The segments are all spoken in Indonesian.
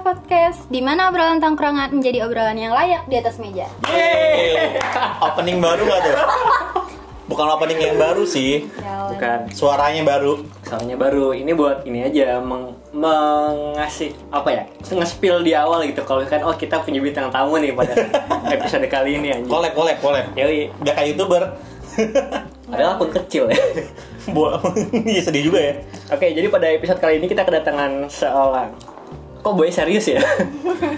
Podcast, di mana obrolan tongkrongan menjadi obrolan yang layak di atas meja. Yeay. opening baru gak tuh? Bukan opening yang baru sih, Bukan. suaranya baru. Soalnya baru ini buat ini aja meng mengasih apa ya? Nge-spill di awal gitu kalau kan oh kita punya bintang tamu nih pada episode kali ini anjing. Kolek, kolek, kolek. Yoi. Udah kayak youtuber. Padahal akun kecil ya. Buat, iya sedih juga ya. Oke, jadi pada episode kali ini kita kedatangan seorang Kok boy serius ya?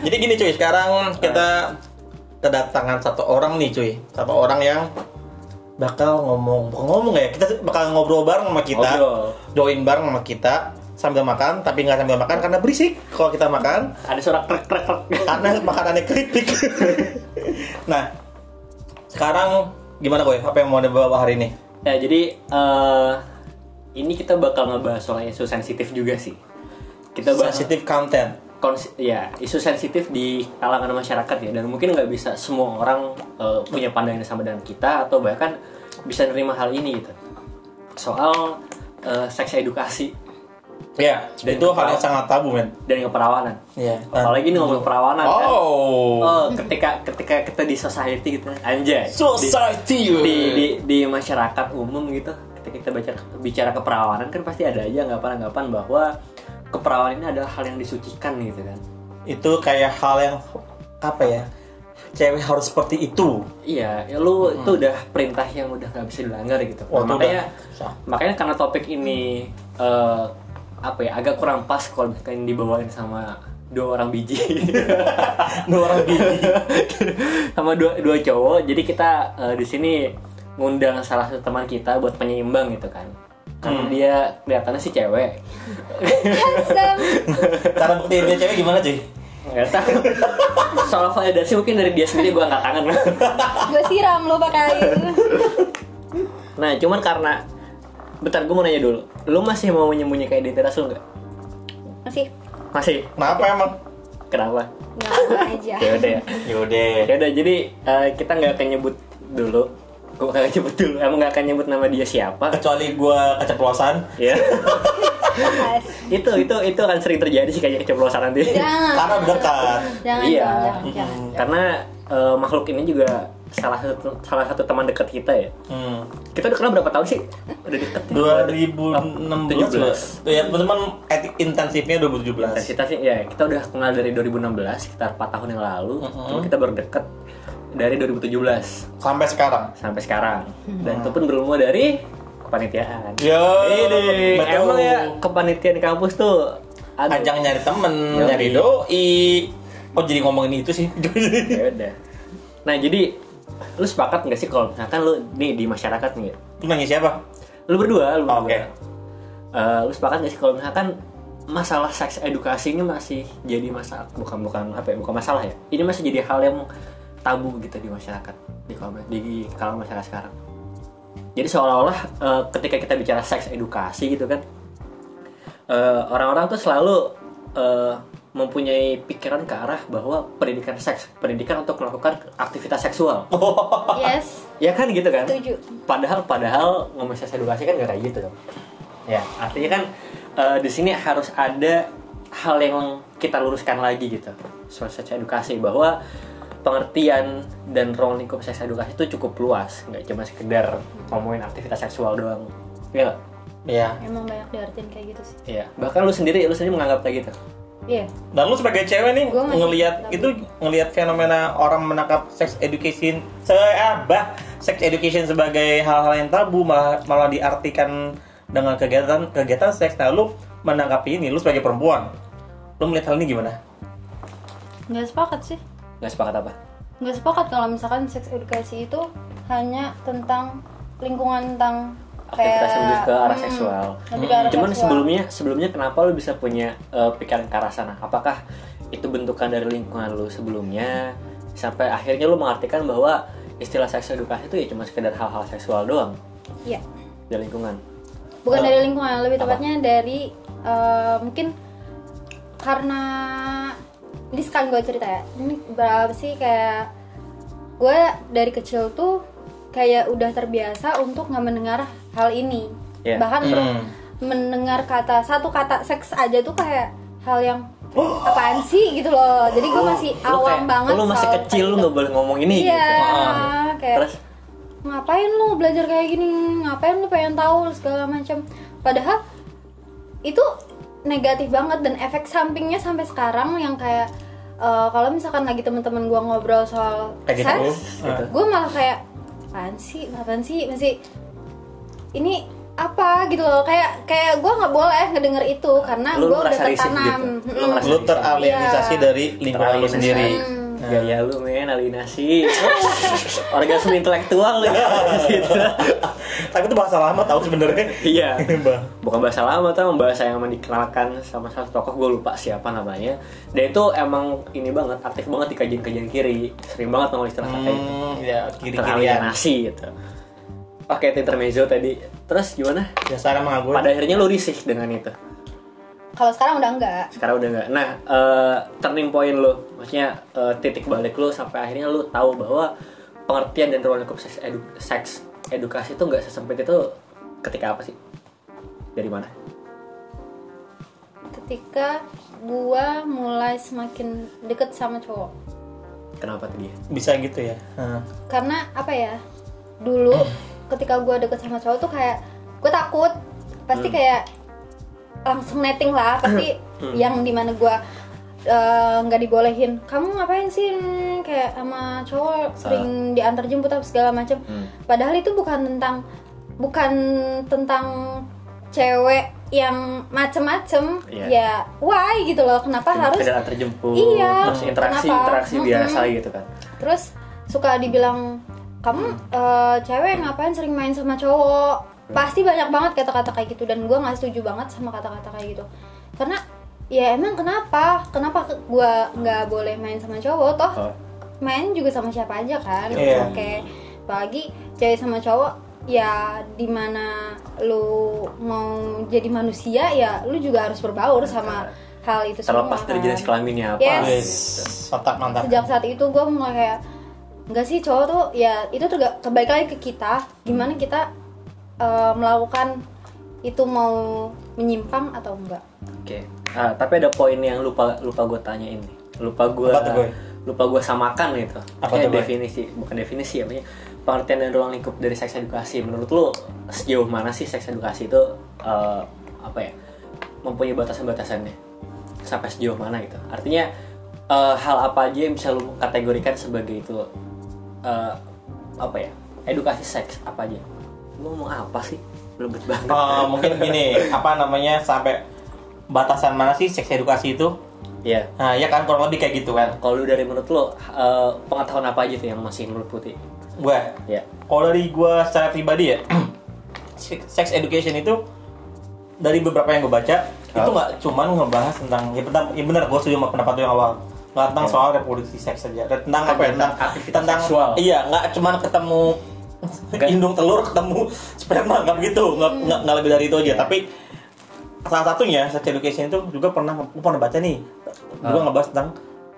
Jadi gini cuy, sekarang kita kedatangan satu orang nih cuy, satu orang yang bakal ngomong, bukan ngomong ya, kita bakal ngobrol bareng sama kita, Ngobrol. join bareng sama kita sambil makan, tapi nggak sambil makan karena berisik kalau kita makan, Ada suara krek krek krek. karena makanannya keripik. nah, sekarang gimana koy? Apa yang mau dibawa hari ini? Ya, jadi eh ini kita bakal ngebahas soal isu sensitif juga sih. Kita bahas Sensitive content. kons- ya isu sensitif di kalangan masyarakat ya dan mungkin nggak bisa semua orang eh, punya pandangan yang sama dengan kita atau bahkan bisa nerima hal ini gitu. Soal eh, seks edukasi Iya. Ya, itu hal yang sangat tabu men. dan keperawanan. Iya. Apalagi ini ngomong keperawanan kan. Oh, Oh, ketika ketika kita di society gitu anjay. Di- society. di, di, di masyarakat umum gitu ketika kita bicara bicara keperawanan kan pasti ada aja anggapan-anggapan bahwa keperawanan ini adalah hal yang disucikan gitu kan itu kayak hal yang apa ya cewek harus seperti itu iya ya lu itu udah perintah yang udah nggak bisa dilanggar gitu Nah, Wah, Hmm. Oh, itu makanya udah susah. makanya karena topik ini eh, apa ya agak kurang pas kalau misalkan dibawain sama dua orang biji dua orang biji sama dua dua cowok jadi kita eh, di sini ngundang salah satu teman kita buat penyeimbang gitu kan karena Hmm. dia kelihatannya sih cewek Handsome. cara buktiin dia cewek gimana cuy Gak tahu. Soal validasi mungkin dari dia sendiri gue angkat tangan. Gue siram lu pakai. nah, cuman karena bentar gue mau nanya dulu. Lu masih mau menyembunyikan identitas lu nggak? Masih Masih. kenapa emang Kenapa? nggak apa aja. Ya udah ya. yaudah Ya udah jadi eh, kita nggak akan nyebut dulu. Gue nggak akan nyebut dulu. Emang nggak akan nyebut nama dia siapa. kecuali gua keceplosan Ya. Mas. itu itu itu akan sering terjadi sih kayaknya keceplosan nanti. Jangan. karena Iya, dekat Jangan, Iya. jangan, jangan, jangan. Karena eh, makhluk ini juga salah satu salah satu teman dekat kita ya. hmm. Kita udah kenal berapa tahun sih? Udah deket. ya? 2016 tuh ya teman-teman etik intensifnya 2017 intensitas sih, ya kita udah kenal dari 2016 sekitar 4 tahun yang lalu cuma kita baru deket dari 2017 sampai sekarang sampai sekarang dan itu pun bermula dari kepanitiaan Yo, Ini, Iya. betul. emang ya kepanitiaan di kampus tuh aduh, ajang nyari temen Yoi. nyari doi oh jadi ngomongin itu sih ya udah nah jadi lu sepakat nggak sih kalau misalkan lu nih di masyarakat nih ya? itu nanya siapa lu berdua lu berdua Oke. Eh, lu sepakat nggak sih kalau misalkan masalah seks edukasi ini masih jadi masalah bukan bukan apa ya, bukan masalah ya ini masih jadi hal yang tabu gitu di masyarakat di kalangan di kalangan masyarakat sekarang jadi seolah-olah eh, ketika kita bicara seks edukasi gitu kan eh, orang-orang tuh selalu eh, mempunyai pikiran ke arah bahwa pendidikan seks pendidikan untuk melakukan aktivitas seksual Yes, ya kan gitu kan setuju. padahal padahal ngomong seks edukasi kan gak kayak gitu dong ya artinya kan eh, di sini harus ada hal yang kita luruskan lagi gitu soal seks edukasi bahwa pengertian dan ruang lingkup seks edukasi itu cukup luas nggak cuma sekedar ngomongin aktivitas seksual doang ya nggak? ya Emang banyak diartin kayak gitu sih. Iya. bahkan lu sendiri lu sendiri menganggap kayak gitu Iya. Dan lu sebagai cewek nih Gua masih ngelihat belum. itu ngelihat fenomena orang menangkap sex education seabah sex education sebagai hal-hal yang tabu malah malah diartikan dengan kegiatan kegiatan seks. Nah lu menanggapi ini lu sebagai perempuan lu melihat hal ini gimana? Nggak sepakat sih. nggak sepakat apa Nggak sepakat kalau misalkan seks edukasi itu hanya tentang lingkungan tentang kayak aktivitas yang lebih ke arah Hmm, seksual. lebih ke arah Cuman seksual. sebelumnya sebelumnya kenapa lu bisa punya eh, pikiran ke arah sana? Apakah itu bentukan dari lingkungan lu sebelumnya sampai akhirnya lu mengartikan bahwa istilah seks edukasi itu ya cuma sekedar hal-hal seksual doang Iya. dari lingkungan. bukan Oh. dari lingkungan lebih Apa? tepatnya dari eh, mungkin karena ini sekali gue cerita ya ini berapa sih kayak gue dari kecil tuh kayak udah terbiasa untuk nggak mendengar hal ini Iya. bahkan ber- Hmm. mendengar kata satu kata seks aja tuh kayak hal yang apaan sih gitu loh jadi gue masih Lu awam kayak, banget Lu masih soal kecil lu kayak nggak gitu. boleh ngomong ini iya gitu. Ah. kayak Terus ngapain lu belajar kayak gini ngapain lu pengen tahu segala macam padahal itu negatif banget dan efek sampingnya sampai sekarang yang kayak eh, kalau misalkan lagi teman-teman gua ngobrol soal kayak gitu seks Ah. gue malah kayak apaan sih apaan sih masih ini apa gitu loh kayak kayak gue nggak boleh ngedenger itu karena lu, gue udah ngerasa risih tertanam gitu. Lu Mm-mm. ngerasa lu risih. teralienisasi Iya. dari lingkungan lu Teralienisasi. sendiri Iya, Hmm. Gaya lu men alienasi. Orgasme intelektual lu. Gitu. tapi itu bahasa lama tau sebenarnya Iya. Bang. bukan bahasa lama tapi emang bahasa yang emang dikenalkan sama satu tokoh gue lupa siapa namanya dan itu emang ini banget aktif banget di kajian-kajian kiri sering banget nongol istilah kata itu hmm, ya kiri kirian teralienasi gitu oke itu intermezzo tadi terus gimana dasar emang aku pada akhirnya lu risih dengan itu kalau sekarang udah enggak sekarang udah nggak nah eh, turning point lu maksudnya eh, titik balik lu sampai akhirnya lu tahu bahwa pengertian dan ruang lingkup seks, edu- seks edukasi itu nggak sesempit itu ketika apa sih dari mana ketika gua mulai semakin deket sama cowok kenapa tadi bisa gitu ya Heeh. karena apa ya dulu ketika gua deket sama cowok tuh kayak gue takut pasti kayak langsung netting lah pasti yang dimana gua eh, nggak dibolehin kamu ngapain sih Hmm, kayak sama cowok sering diantar jemput apa segala macam padahal itu bukan tentang bukan tentang cewek yang macem-macem Iya. ya why gitu loh kenapa harus kendaraan terjemput Iya, terus interaksi kenapa? interaksi Mm-mm. biasa gitu kan terus suka dibilang kamu eh, cewek ngapain sering main sama cowok pasti banyak banget kata-kata kayak gitu dan gue nggak setuju banget sama kata-kata kayak gitu karena ya emang kenapa kenapa ke- gua nggak boleh main sama cowok toh Oh. main juga sama siapa aja kan Iya. oke apalagi cewek sama cowok ya dimana lu mau jadi manusia ya lu juga harus berbaur sama hal itu semua terlepas dari kan. jenis kelaminnya apa Gitu. Yes. Wes, mantap mantap sejak saat itu gue mulai kayak nggak sih cowok tuh ya itu tuh gak kembali lagi ke kita gimana kita eh, melakukan itu mau menyimpang atau enggak Oke. Ah, tapi ada poin yang lupa lupa gue tanyain nih. Lupa gue Apa tuh, Boy? lupa gue samakan gitu. Apa Kayak tuh, Boy? definisi bukan definisi ya, maksudnya pengertian dan ruang lingkup dari seks edukasi. Menurut lu sejauh mana sih seks edukasi itu eh, apa ya? Mempunyai batasan-batasannya. Sampai sejauh mana gitu. Artinya eh, hal apa aja yang bisa lu kategorikan sebagai itu eh, apa ya? Edukasi seks apa aja? Lu ngomong apa sih? Belum banget. Eh, mungkin gini apa namanya sampai batasan mana sih seks edukasi itu Iya. nah ya kan kurang lebih kayak gitu kan Kalau lu dari menurut lo eh, pengetahuan apa aja tuh yang masih menurut putih? gue Ya. kalau dari gue secara pribadi ya sex education itu dari beberapa yang gue baca Ah. itu nggak cuman ngebahas tentang ya benar ya benar gue setuju sama pendapat lu yang awal nggak tentang Ah. soal reproduksi seks saja tentang apa ya tentang Aktivitas tentang seksual. iya nggak cuman ketemu Nggak. Hmm. indung telur ketemu sperma nggak gitu nggak nggak nggak lebih dari itu aja tapi salah satunya sex education itu juga pernah gue pernah baca nih gue Ah. ngebahas tentang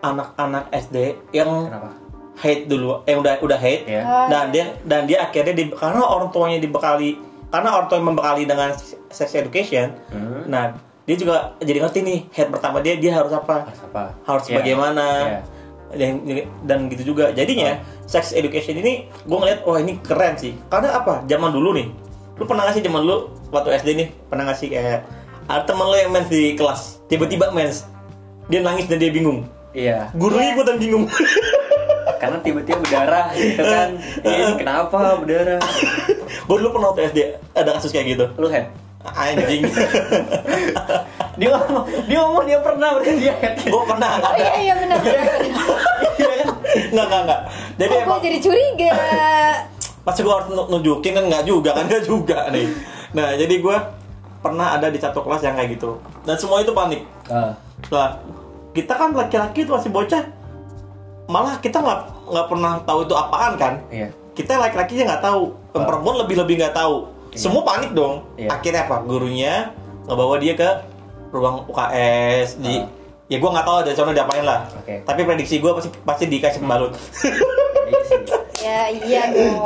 anak-anak SD yang Kenapa? hate dulu eh udah udah hate Ya. Ah, dan dia dan dia akhirnya di, karena orang tuanya dibekali karena orang tuanya membekali dengan sex education Hmm. nah dia juga jadi ngerti nih hate pertama dia dia harus apa Harus apa? harus Ya. bagaimana Ya. dan, dan gitu juga jadinya sex education ini gue ngeliat wah ini keren sih karena apa zaman dulu nih lu pernah ngasih zaman dulu waktu SD nih pernah ngasih kayak ada temen lu yang mens di kelas tiba-tiba mens dia nangis dan dia bingung Iya. gurunya ikutan bingung Karena tiba-tiba berdarah gitu kan. Iya, ini kenapa berdarah? gue dulu pernah waktu SD ada kasus kayak gitu Lu head. anjing Dia ngomong, dia ngomong dia pernah berarti dia head. gue pernah Iya oh kan? iya iya benar nggak nggak nggak jadi kok gue emang jadi curiga pasti gue harus nu- nunjukin kan nggak juga kan nggak juga nih nah jadi gue pernah ada di satu kelas yang kayak gitu dan semua itu panik Ah. lah kita kan laki-laki itu masih bocah malah kita nggak nggak pernah tahu itu apaan kan Iya. kita laki-lakinya nggak tahu yang Ah. perempuan lebih-lebih nggak tahu semua panik dong Iya. akhirnya apa gurunya ngebawa dia ke ruang UKS di Ah. ya gue nggak tahu ada sana diapain lah Oke. tapi prediksi gue pasti pasti dikasih pembalut Iya sih. ya iya dong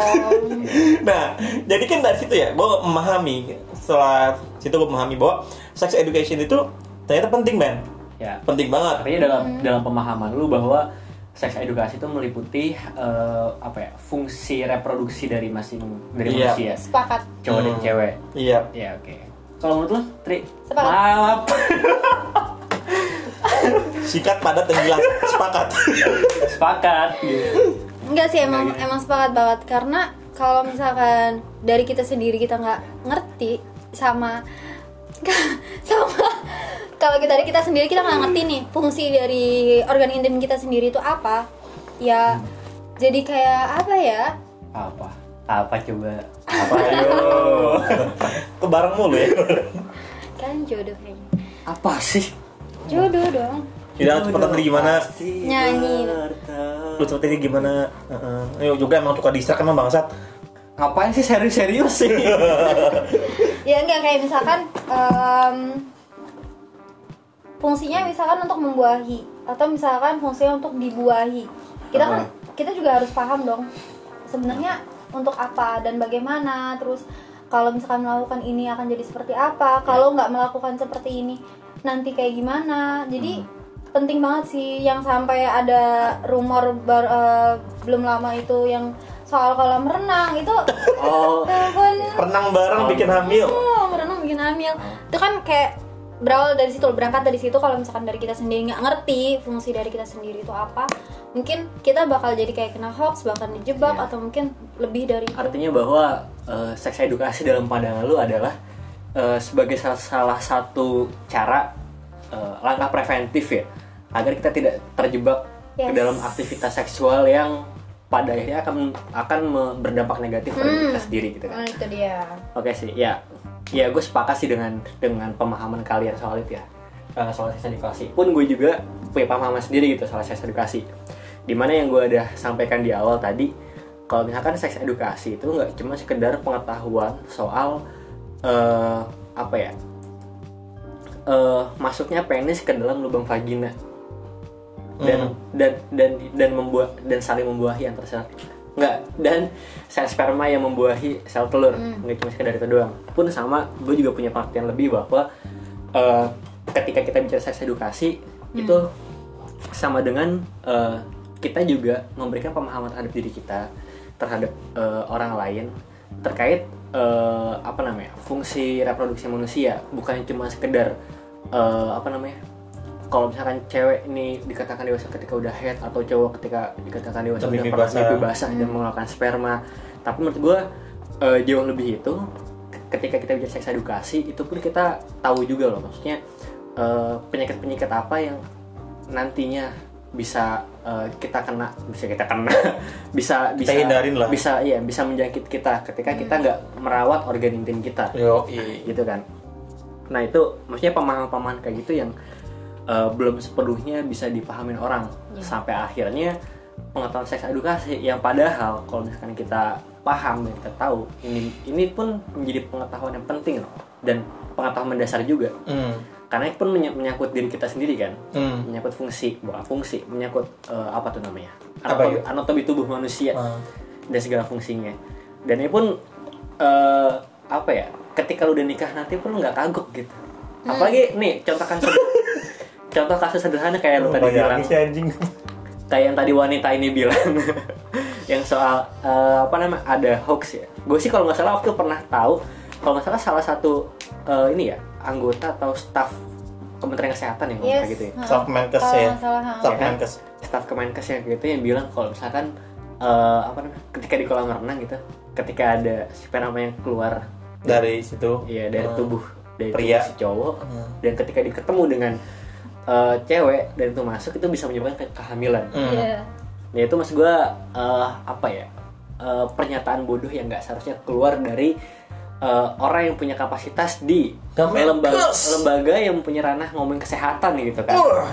nah jadi kan dari situ ya gue memahami setelah situ gue memahami bahwa sex education itu ternyata penting Ben ya penting banget artinya dalam dalam pemahaman lu bahwa seks edukasi itu meliputi eh, apa ya fungsi reproduksi dari masing dari Iya. manusia sepakat cowok dan Hmm. cewek iya ya oke kalau menurut lu tri Sepakat. maaf sikat padat dan jelas sepakat sepakat gitu. Enggak sih emang emang sepakat banget karena kalau misalkan dari kita sendiri kita nggak ngerti sama sama kalau kita dari kita sendiri kita nggak ngerti nih fungsi dari organ intim kita sendiri itu apa ya jadi kayak apa ya apa apa coba Apa ayo? Oh. Kebareng mulu ya. kan jodoh kayaknya apa sih jodoh dong Tidak lu seperti tadi gimana? Nyanyi. Lu seperti tadi gimana? Heeh. Ayo juga emang suka distract emang bangsat. ngapain sih serius-serius sih ya enggak kayak misalkan em, fungsinya misalkan untuk membuahi atau misalkan fungsinya untuk dibuahi kita kan kita juga harus paham dong sebenarnya untuk apa dan bagaimana terus kalau misalkan melakukan ini akan jadi seperti apa kalau nggak melakukan seperti ini nanti kayak gimana jadi penting banget sih yang sampai ada rumor bar- eh, belum lama itu yang soal kolam renang itu oh eh, gue- Renang bareng bikin hamil. Oh, merenung bikin hamil. Itu kan kayak berawal dari situ, berangkat dari situ kalau misalkan dari kita sendiri nggak ngerti fungsi dari kita sendiri itu apa, mungkin kita bakal jadi kayak kena hoax, bahkan dijebak Iya. atau mungkin lebih dari itu. artinya bahwa eh, seks edukasi dalam pandangan lu adalah eh, sebagai salah, salah satu cara eh, langkah preventif ya agar kita tidak terjebak ke Yes. dalam aktivitas seksual yang pada akhirnya akan akan me- berdampak negatif pada Hmm. kita sendiri gitu Nah, kan itu dia. oke sih ya ya gue sepakat sih dengan dengan pemahaman kalian soal itu ya Eh, soal seks edukasi pun gue juga punya pemahaman sendiri gitu soal seks edukasi dimana yang gue udah sampaikan di awal tadi kalau misalkan seks edukasi itu nggak cuma sekedar pengetahuan soal eh, apa ya eh, masuknya penis ke dalam lubang vagina Hmm. dan dan dan dan membuat dan saling membuahi antar sel nggak dan sel sperma yang membuahi sel telur nggak cuma sekedar itu doang pun sama gue juga punya pengertian lebih bahwa eh, ketika kita bicara seks edukasi itu sama dengan eh, kita juga memberikan pemahaman terhadap diri kita terhadap eh, orang lain terkait eh, apa namanya fungsi reproduksi manusia bukan cuma sekedar eh, apa namanya kalau misalkan cewek ini dikatakan dewasa ketika udah head atau cowok ketika dikatakan dewasa Atau udah mimpi pernah basah. mimpi basah dan mengeluarkan sperma tapi menurut gue jauh lebih itu ketika kita bicara seks edukasi itu pun kita tahu juga loh maksudnya eh, penyakit-penyakit apa yang nantinya bisa eh, kita kena bisa kita kena bisa bisa hindarin lah. bisa iya bisa menjangkit kita ketika Hmm. kita nggak merawat organ intim kita Yo, gitu kan nah itu maksudnya pemahaman-pemahaman kayak gitu yang eh, belum sepenuhnya bisa dipahamin orang Iya. sampai akhirnya pengetahuan seks edukasi yang padahal kalau misalkan kita paham dan kita tahu ini ini pun menjadi pengetahuan yang penting loh dan pengetahuan mendasar juga Hmm. karena itu pun menya- menyangkut diri kita sendiri kan Hmm. menyangkut fungsi bukan fungsi menyangkut eh, apa tuh namanya Apa ya? anatomi, anatomi tubuh manusia Hmm. dan segala fungsinya dan ini pun eh, apa ya ketika lu udah nikah nanti pun lu nggak kagok gitu apalagi nih contoh kasus contoh kasus sederhana kayak lu tadi Banyak bilang habisnya, anjing. kayak yang tadi wanita ini bilang yang soal eh, apa namanya ada hoax ya gue sih kalau nggak salah waktu itu pernah tahu kalau nggak salah salah satu eh, ini ya anggota atau staff Kementerian Kesehatan yang ngomong Yes. kayak gitu ya Soft mankes Kalau ya. nggak salah, ha. Soft Iya kan? mankes. staf Kemenkes yang gitu yang bilang kalau misalkan eh, apa namanya ketika di kolam renang gitu ketika ada sperma yang keluar Dari situ. ya dari Hmm. tubuh dari Pria. tubuh si cowok Hmm. dan ketika diketemu dengan eh, cewek dan itu masuk itu bisa menyebabkan ke- kehamilan Hmm. Iya. ya itu mas gue eh, apa ya eh, pernyataan bodoh yang nggak seharusnya keluar dari eh, orang yang punya kapasitas di Kemenkes. lembaga lembaga yang punya ranah ngomong kesehatan gitu kan Uh.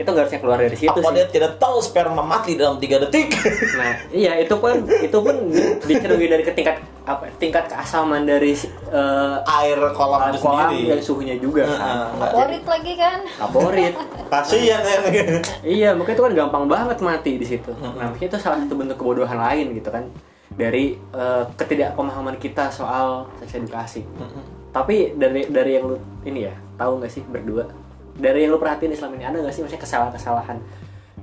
itu nggak harusnya keluar dari Gitu situ apa sih. dia tidak tahu sperma mati dalam 3 detik Nah, iya itu pun itu pun dicerminkan dari ke tingkat apa tingkat keasaman dari eh, air kolam kolam itu kolam sendiri dan suhunya juga kan. Heeh. Nggak jadi Favorit lagi kan. Kaporit. Kasihan ya. iya, mungkin itu kan gampang banget mati di situ. Nah, mungkin itu salah satu bentuk kebodohan lain gitu kan dari eh, ketidakpemahaman kita Hmm. soal seks edukasi. Tapi dari dari yang lu ini ya, tahu nggak sih berdua dari yang lu perhatiin Islam ini ada nggak sih maksudnya kesalahan-kesalahan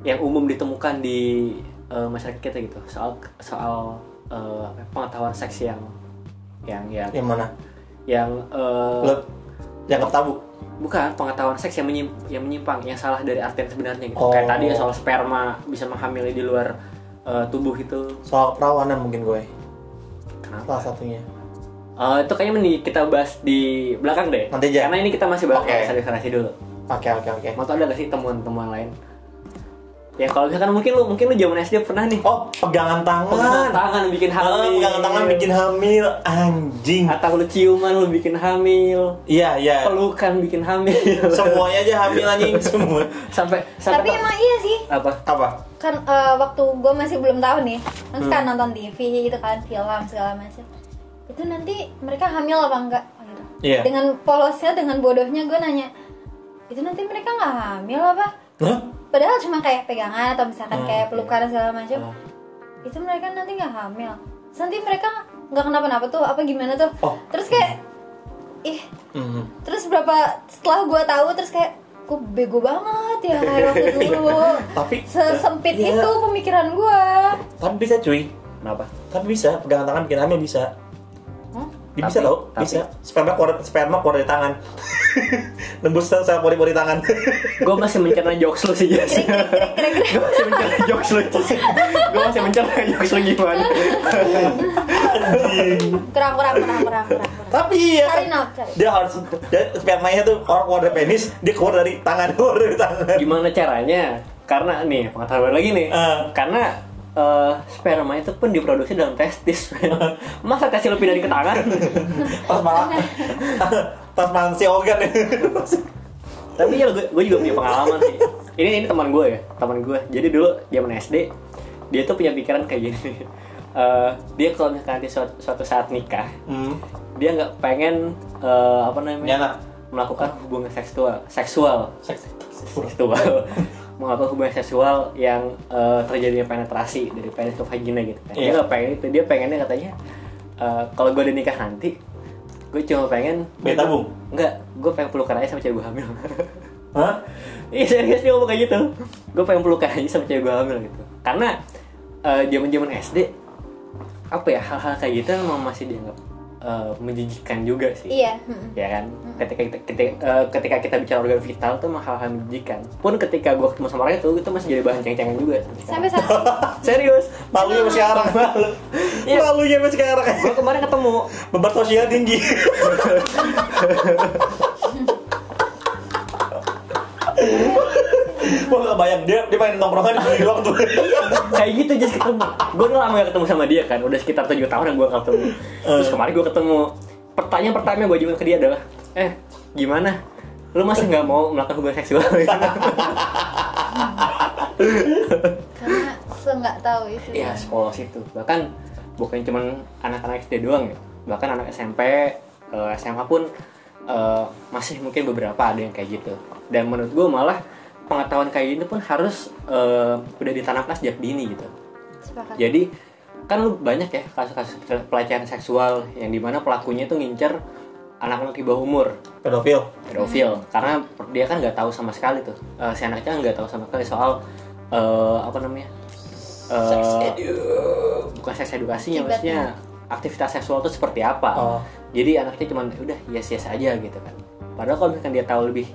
yang umum ditemukan di eh, masyarakat kita gitu soal soal eh, apa ya, pengetahuan seks yang yang yang Yang mana? yang eh, Lo dianggap tabu. bukan pengetahuan seks yang menyim- yang menyimpang yang salah dari arti yang sebenarnya gitu Oh. kayak tadi ya soal sperma bisa menghamili di luar eh, tubuh itu Soal perawanan mungkin gue. kenapa Salah satunya. Eh, itu kayaknya mending kita bahas di belakang deh Nanti aja. karena ini kita masih bahas Oke. okay. sanasi dulu Oke oke oke. mau tau ada gak sih temuan-temuan lain ya kalau misalkan mungkin lu mungkin lu zaman SD pernah nih Oh pegangan pegangan tangan. tangan lu bikin hamil Ah, pegangan tangan bikin hamil anjing. atau lu ciuman lu bikin hamil Iya iya. pelukan bikin hamil Semuanya aja hamil anjing Iya. semua. sampai sampai Tapi emang iya sih, apa Apa? kan eh, waktu gue masih belum tahu nih kan Hmm. suka nonton TV gitu kan film segala macam itu nanti mereka hamil apa enggak Oh, gitu. Iya. dengan polosnya dengan bodohnya gue nanya itu nanti mereka nggak hamil apa Hah? padahal cuma kayak pegangan atau misalkan Hmm, kayak pelukan segala macam Hmm. itu mereka nanti nggak hamil Terus nanti mereka nggak kenapa-napa tuh apa gimana tuh Oh. terus kayak ih Hmm. terus berapa setelah gue tahu terus kayak gue bego banget ya kayak waktu dulu Tapi- sesempit Iya. itu pemikiran gue Tapi Kan bisa cuy. kenapa Tapi bisa pegangan tangan bikin hamil bisa. Hah? Dia Tapi- bisa tau, tapi- bisa. Sperma keluar, sperma keluar dari tangan. Nembus sel sel pori-pori tangan. gue masih mencerna jokes lu sih Jess Krik, krik, krik, krik, krik. gue masih mencerna jokes lu Jess gue masih mencerna jokes lu gimana kurang kurang kurang kurang kurang kurang. Tapi iya. cari nol cari Dia harus dia spermanya tuh orang keluar dari penis, dia keluar dari tangan, keluar dari tangan. gimana caranya karena nih pengetahuan lagi nih Eh. karena eh, sperma itu pun diproduksi dalam testis men. Eh. masa testis lu pindahin ke tangan Pas malah pas mansi organ. tapi ya gue, gue juga punya pengalaman sih ini ini teman gue ya teman gue jadi dulu zaman SD dia tuh punya pikiran kayak gini Eh, dia kalau misalkan nanti suatu, suatu saat nikah hmm. dia nggak pengen eh, apa namanya Nyana. melakukan hubungan seksual seksual Seks. seksual melakukan hubungan seksual yang eh, terjadinya penetrasi dari penis ke vagina gitu kan. Dia Iya. nggak pengen itu, dia pengennya katanya eh, kalau gue udah nikah nanti gue cuma pengen Bayi tabung? Enggak, gue pengen pelukan aja sama cewek gue hamil Hah? Iya serius dia ngomong kayak gitu Gue pengen pelukan aja sama cewek gue hamil gitu Karena eh, zaman zaman SD Apa ya, hal-hal kayak gitu memang masih dianggap eh, menjijikan juga sih iya Hmm. mm-mm. ya kan ketika kita ketika, eh, ketika kita bicara organ vital tuh mah hal-hal menjijikan pun ketika gua ketemu sama orang itu itu masih jadi bahan ceng-cengan juga sampai saat ini serius Malunya masih sekarang. Iya. Malunya masih sekarang. gua kemarin ketemu Beban sosial tinggi. Wah gak bayang dia dia main nongkrongan di doang tuh. kayak gitu jadi ketemu gua udah lama gak ketemu sama dia kan udah sekitar tujuh tahunan gua gak ketemu terus kemarin gua ketemu pertanyaan pertama yang gua ajukan ke dia adalah eh gimana lu masih nggak mau melakukan hubungan seksual karena se nggak tahu itu ya sekolah situ bahkan bukan cuman anak-anak SD doang ya bahkan anak SMP eh, SMA pun eh, masih mungkin beberapa ada yang kayak gitu dan menurut gue malah pengetahuan kayak gitu pun harus eh, udah ditanamkan sejak dini gitu Sepakat. jadi kan lu banyak ya kasus-kasus pelecehan seksual yang dimana pelakunya itu ngincer anak-anak di bawah umur Pedofil. pedofil karena dia kan nggak tahu sama sekali tuh Eh, si anaknya nggak tahu sama sekali soal eh, apa namanya Eh, bukan seks edukasinya maksudnya aktivitas seksual itu seperti apa Oh. jadi anaknya cuman "Ya udah yes yes aja gitu kan padahal kalau misalkan dia tahu lebih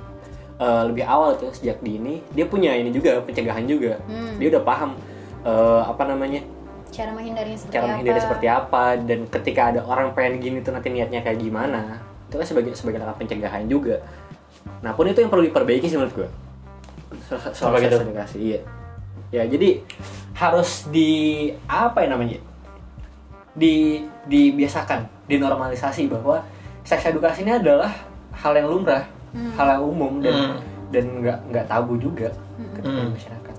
eh, lebih awal tuh sejak dini dia punya ini juga pencegahan juga Hmm. dia udah paham eh, apa namanya cara menghindarinya seperti cara apa menghindari seperti apa dan ketika ada orang pengen gini tuh nanti niatnya kayak gimana itu kan sebagai sebagai langkah pencegahan juga nah pun itu yang perlu diperbaiki sih menurut gue So- so- soal Apa gitu? sosialisasi iya ya jadi harus di apa ya namanya di dibiasakan dinormalisasi bahwa seks edukasi ini adalah hal yang lumrah hal yang umum dan Hmm. dan nggak nggak tabu juga ketika di masyarakat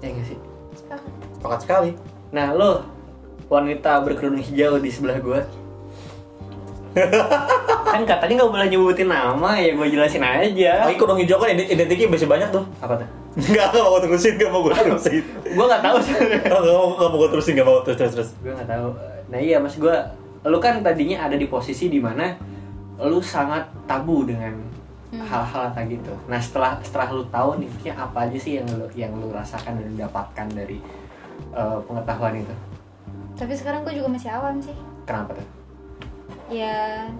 ya nggak sih Sepakat. Pakat sekali. Nah lo wanita berkerudung hijau di sebelah gua kan katanya nggak boleh nyebutin nama ya gue jelasin aja Lagi kudung hijau kan ident- identiknya masih banyak tuh. apa tuh Enggak, enggak mau gua terusin, enggak mau gue terusin. gue nggak tahu sih Enggak mau, enggak mau gue terusin, enggak mau terus terus terus. gue nggak tahu nah iya mas gue lu kan tadinya ada di posisi dimana lu sangat tabu dengan Hmm. hal-hal kayak gitu. Nah setelah setelah lu tahu nih, kayak apa aja sih yang lu yang lu rasakan dan lu dapatkan dari eh, pengetahuan itu? tapi sekarang gue juga masih awam sih Kenapa tuh? ya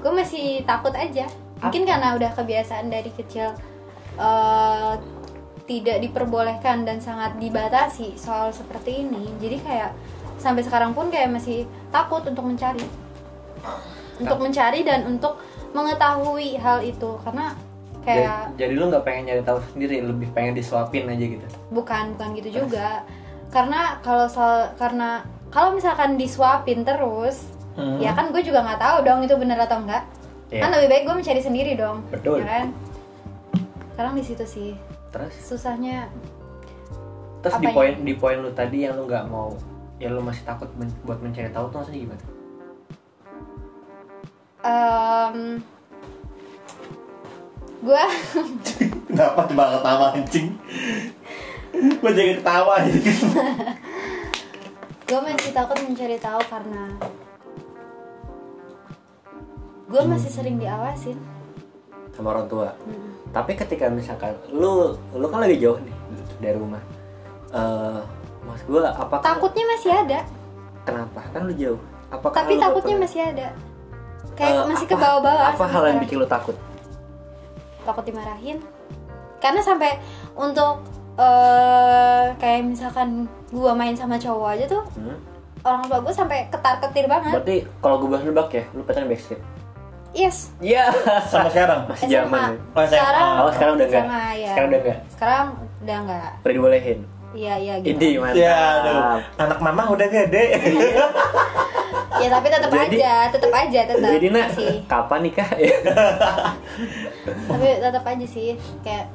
gue masih takut aja mungkin karena udah kebiasaan dari kecil eh, tidak diperbolehkan dan sangat dibatasi soal seperti ini jadi kayak sampai sekarang pun kayak masih takut untuk mencari untuk mencari dan untuk mengetahui hal itu karena kayak jadi, jadi lu nggak pengen nyari tahu sendiri, lebih pengen disuapin aja gitu. bukan bukan gitu juga karena kalau soal karena kalau misalkan disuapin terus ya kan gue juga nggak tahu dong itu bener atau enggak Iya. kan lebih baik gue mencari sendiri dong Betul. ya kan sekarang di situ sih Terus susahnya terus di Apanya? poin di poin lu tadi yang lu nggak mau ya lu masih takut men- buat mencari tahu tuh maksudnya gimana? em, gue Kenapa coba ketawa anjing? Gue jadi ketawa anjing. gue masih takut mencari tahu karena gue masih sering diawasin sama orang tua. Tapi ketika misalkan lu lu kan lagi jauh nih dari rumah. Eh mas gue apa takutnya masih ada kenapa kan lu jauh? Apakah tapi lu takutnya pernah- masih ada kayak Eh, masih apa- ke bawah-bawah Apa sampai hal yang sekarang. bikin lu takut? takut dimarahin karena sampai untuk eh, kayak misalkan gua main sama cowok aja tuh Hmm? orang tua gua sampai ketar ketir banget Berarti kalau gue bahas nebak ya, lu pacaran backstreet. yes Iya. Sama sekarang. Masih SMA. zaman. ya. Oh, saya- Sekarang- oh, Oh, sekarang udah enggak. Sama, ya. Sekarang udah enggak. sekarang udah nggak Udah dibolehin. iya iya gitu Ini mantap. Ya, aduh. Anak mama udah gede. ya tapi tetap Jadi- aja tetap aja tetap Jadi nak, sih kapan nikah? tapi tetap aja sih kayak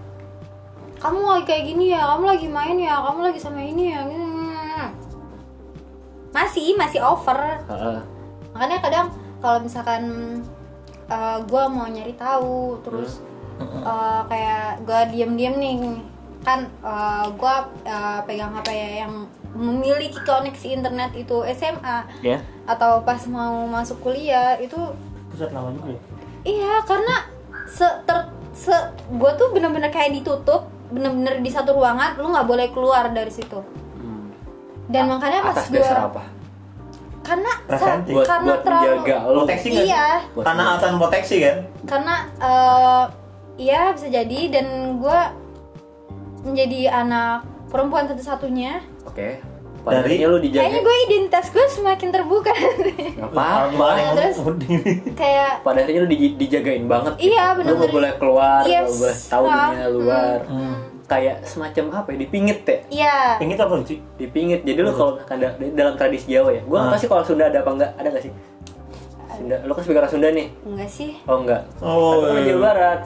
kamu lagi kayak gini ya kamu lagi main ya kamu lagi sama ini ya masih masih over Heeh. makanya kadang kalau misalkan eh, gua gue mau nyari tahu terus eh, kayak gue diem-diem nih kan eh, gua gue pegang hp yang memiliki koneksi internet itu SMA Ya. atau pas mau masuk kuliah itu Pusat lama juga ya. iya karena se ter se gue tuh bener-bener kayak ditutup bener-bener di satu ruangan lu nggak boleh keluar dari situ Hmm. dan makanya pas Atas gue dasar apa? karena Perasaan sa- Buat- karena buat terlalu menjaga lo. Proteksi nggak sih? iya Buat Karena menjaga. alasan proteksi kan? karena eh ya bisa jadi dan gue menjadi anak perempuan satu-satunya Oke. Padahalnya lu dijaga. kayaknya gue identitas gue semakin terbuka Orang Nggak apa-apa. tua Nah, yang terus- udah ini. kayak Pada akhirnya lu dij- dijagain banget. gitu. Iya, bener-bener. Lu nggak boleh keluar, nggak Yes. boleh tahu Ah, dunia luar. Hmm. Kayak semacam apa ya? Dipingit ya. ya Yang itu apa sih? Dipingit. Jadi lu kalau misalkan da- di- dalam tradisi Jawa ya. Gua nggak Hmm. Ah. tahu sih kalau Sunda ada apa enggak? Ada nggak sih? Sunda. Lu kan sebagai orang Sunda nih. enggak sih Oh enggak. Oh, Kan lu iya. Jawa Barat.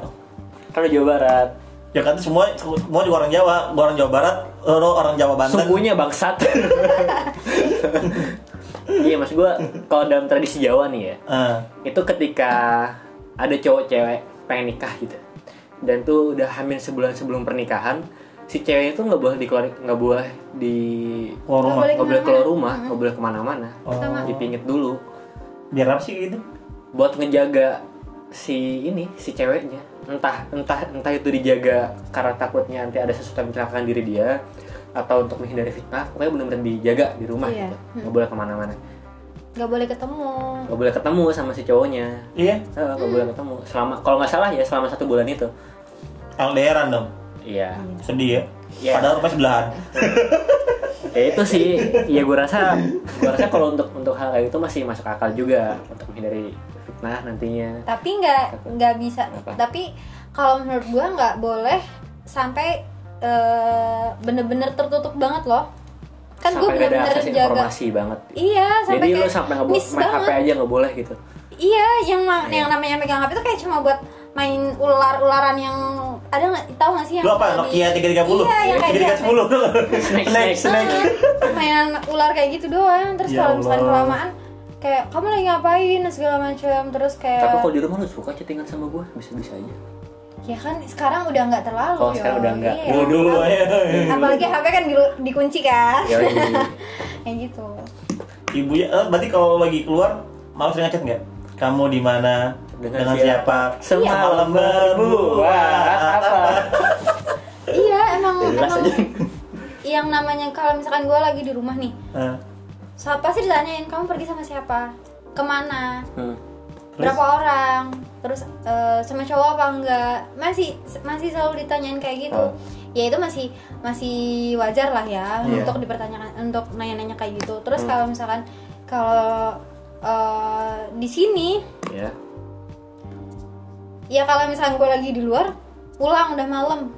Kalau Jawa Barat. Ya kan semua semua juga orang Jawa, gua orang Jawa Barat, lo orang Jawa Banten. Sukunya bangsat. iya, Mas gua kalau dalam tradisi Jawa nih ya. Ah. itu ketika ada cowok cewek pengen nikah gitu dan tuh udah hamil sebulan sebelum pernikahan si ceweknya tuh nggak boleh dikeluar nggak boleh di Keluar rumah. Nggak boleh nggak boleh kemana-mana. Oh. keluar rumah nggak boleh kemana-mana Sama. dipingit dulu Biar apa sih gitu? buat ngejaga si ini si ceweknya entah entah entah itu dijaga karena takutnya nanti ada sesuatu yang mencelakaan diri dia atau untuk menghindari fitnah pokoknya benar-benar dijaga di rumah Iya. gitu nggak boleh kemana-mana nggak boleh ketemu nggak boleh ketemu sama si cowoknya Iya, Eh, nggak boleh ketemu selama kalau nggak salah ya selama satu bulan itu LDRan dong. iya Sedih ya. Iya. Padahal rumah sebelahan. ya itu sih ya gue rasa gue rasa kalau untuk untuk hal kayak itu masih masuk akal juga untuk menghindari fitnah nantinya tapi nggak nggak bisa Apa? tapi kalau menurut gue nggak boleh sampai eh, bener-bener tertutup banget loh kan gue sampai nggak ada bener-bener akses jaga informasi banget iya sampai jadi lu kayak sampai nggak boleh miss main banget. HP aja nggak boleh gitu Iya, yang ma- yang namanya megang HP itu kayak cuma buat main ular-ularan yang ada nggak tahu nggak sih yang Lu kayak di- apa? Nokia 3310? Iya, yang kayak di HP. 3310. Snake, Snake, snake. Ah, mainan ular kayak gitu doang. Terus Ya kalau misalkan Allah. kelamaan kayak kamu lagi ngapain dan segala macam terus kayak tapi kalau di rumah lu suka chattingan sama gue bisa bisa aja ya kan sekarang udah nggak terlalu Kalau yo. sekarang udah nggak. eh. Iya. Dulu dulu aja. apalagi HP kan di- dikunci kan ya ini kayak gitu Ibu ya, eh, berarti kalau lagi keluar malah sering ngechat nggak? Kamu di mana? Dengan dengan, siapa? siapa? Semalam berbuat apa? iya emang Ya, jelas emang aja. yang namanya kalau misalkan gue lagi di rumah nih Eh, so, pasti ditanyain kamu pergi sama siapa kemana Hmm. berapa orang terus eh, sama cowok apa enggak masih masih selalu ditanyain kayak gitu Oh. ya itu masih masih wajar lah ya Iya. Hmm. untuk dipertanyakan untuk nanya-nanya kayak gitu terus kalau misalkan kalau eh, di sini Ya. ya kalau misalkan gue lagi di luar pulang udah malam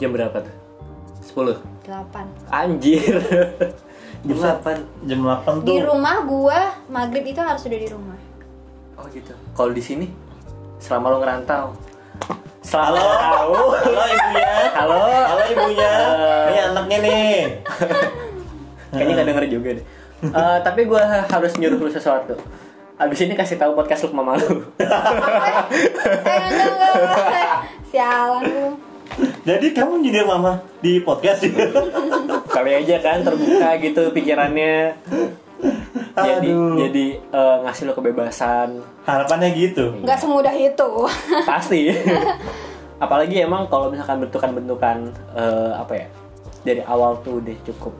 Jam berapa tuh? 10. 8 Anjir. Jam Buset. 8. jam 8 di tuh rumah gue maghrib itu harus udah di rumah Oh gitu. Kalau di sini selama lo ngerantau. Selama Halo. tahu. Halo ibunya. Halo. Eh. Halo ibunya. Ini anaknya nih. Kayaknya nggak denger juga deh. Eh, tapi gue harus nyuruh lu sesuatu. Abis ini kasih tahu podcast lu ke mama lu. eh enggak enggak, enggak. sialan lu Jadi kamu nyindir mama di podcast. Kali aja kan terbuka gitu pikirannya. Jadi Aduh. jadi eh, ngasih lo kebebasan Harapannya gitu. nggak semudah itu pasti. Apalagi emang kalau misalkan bentukan-bentukan eh, apa ya dari awal tuh udah cukup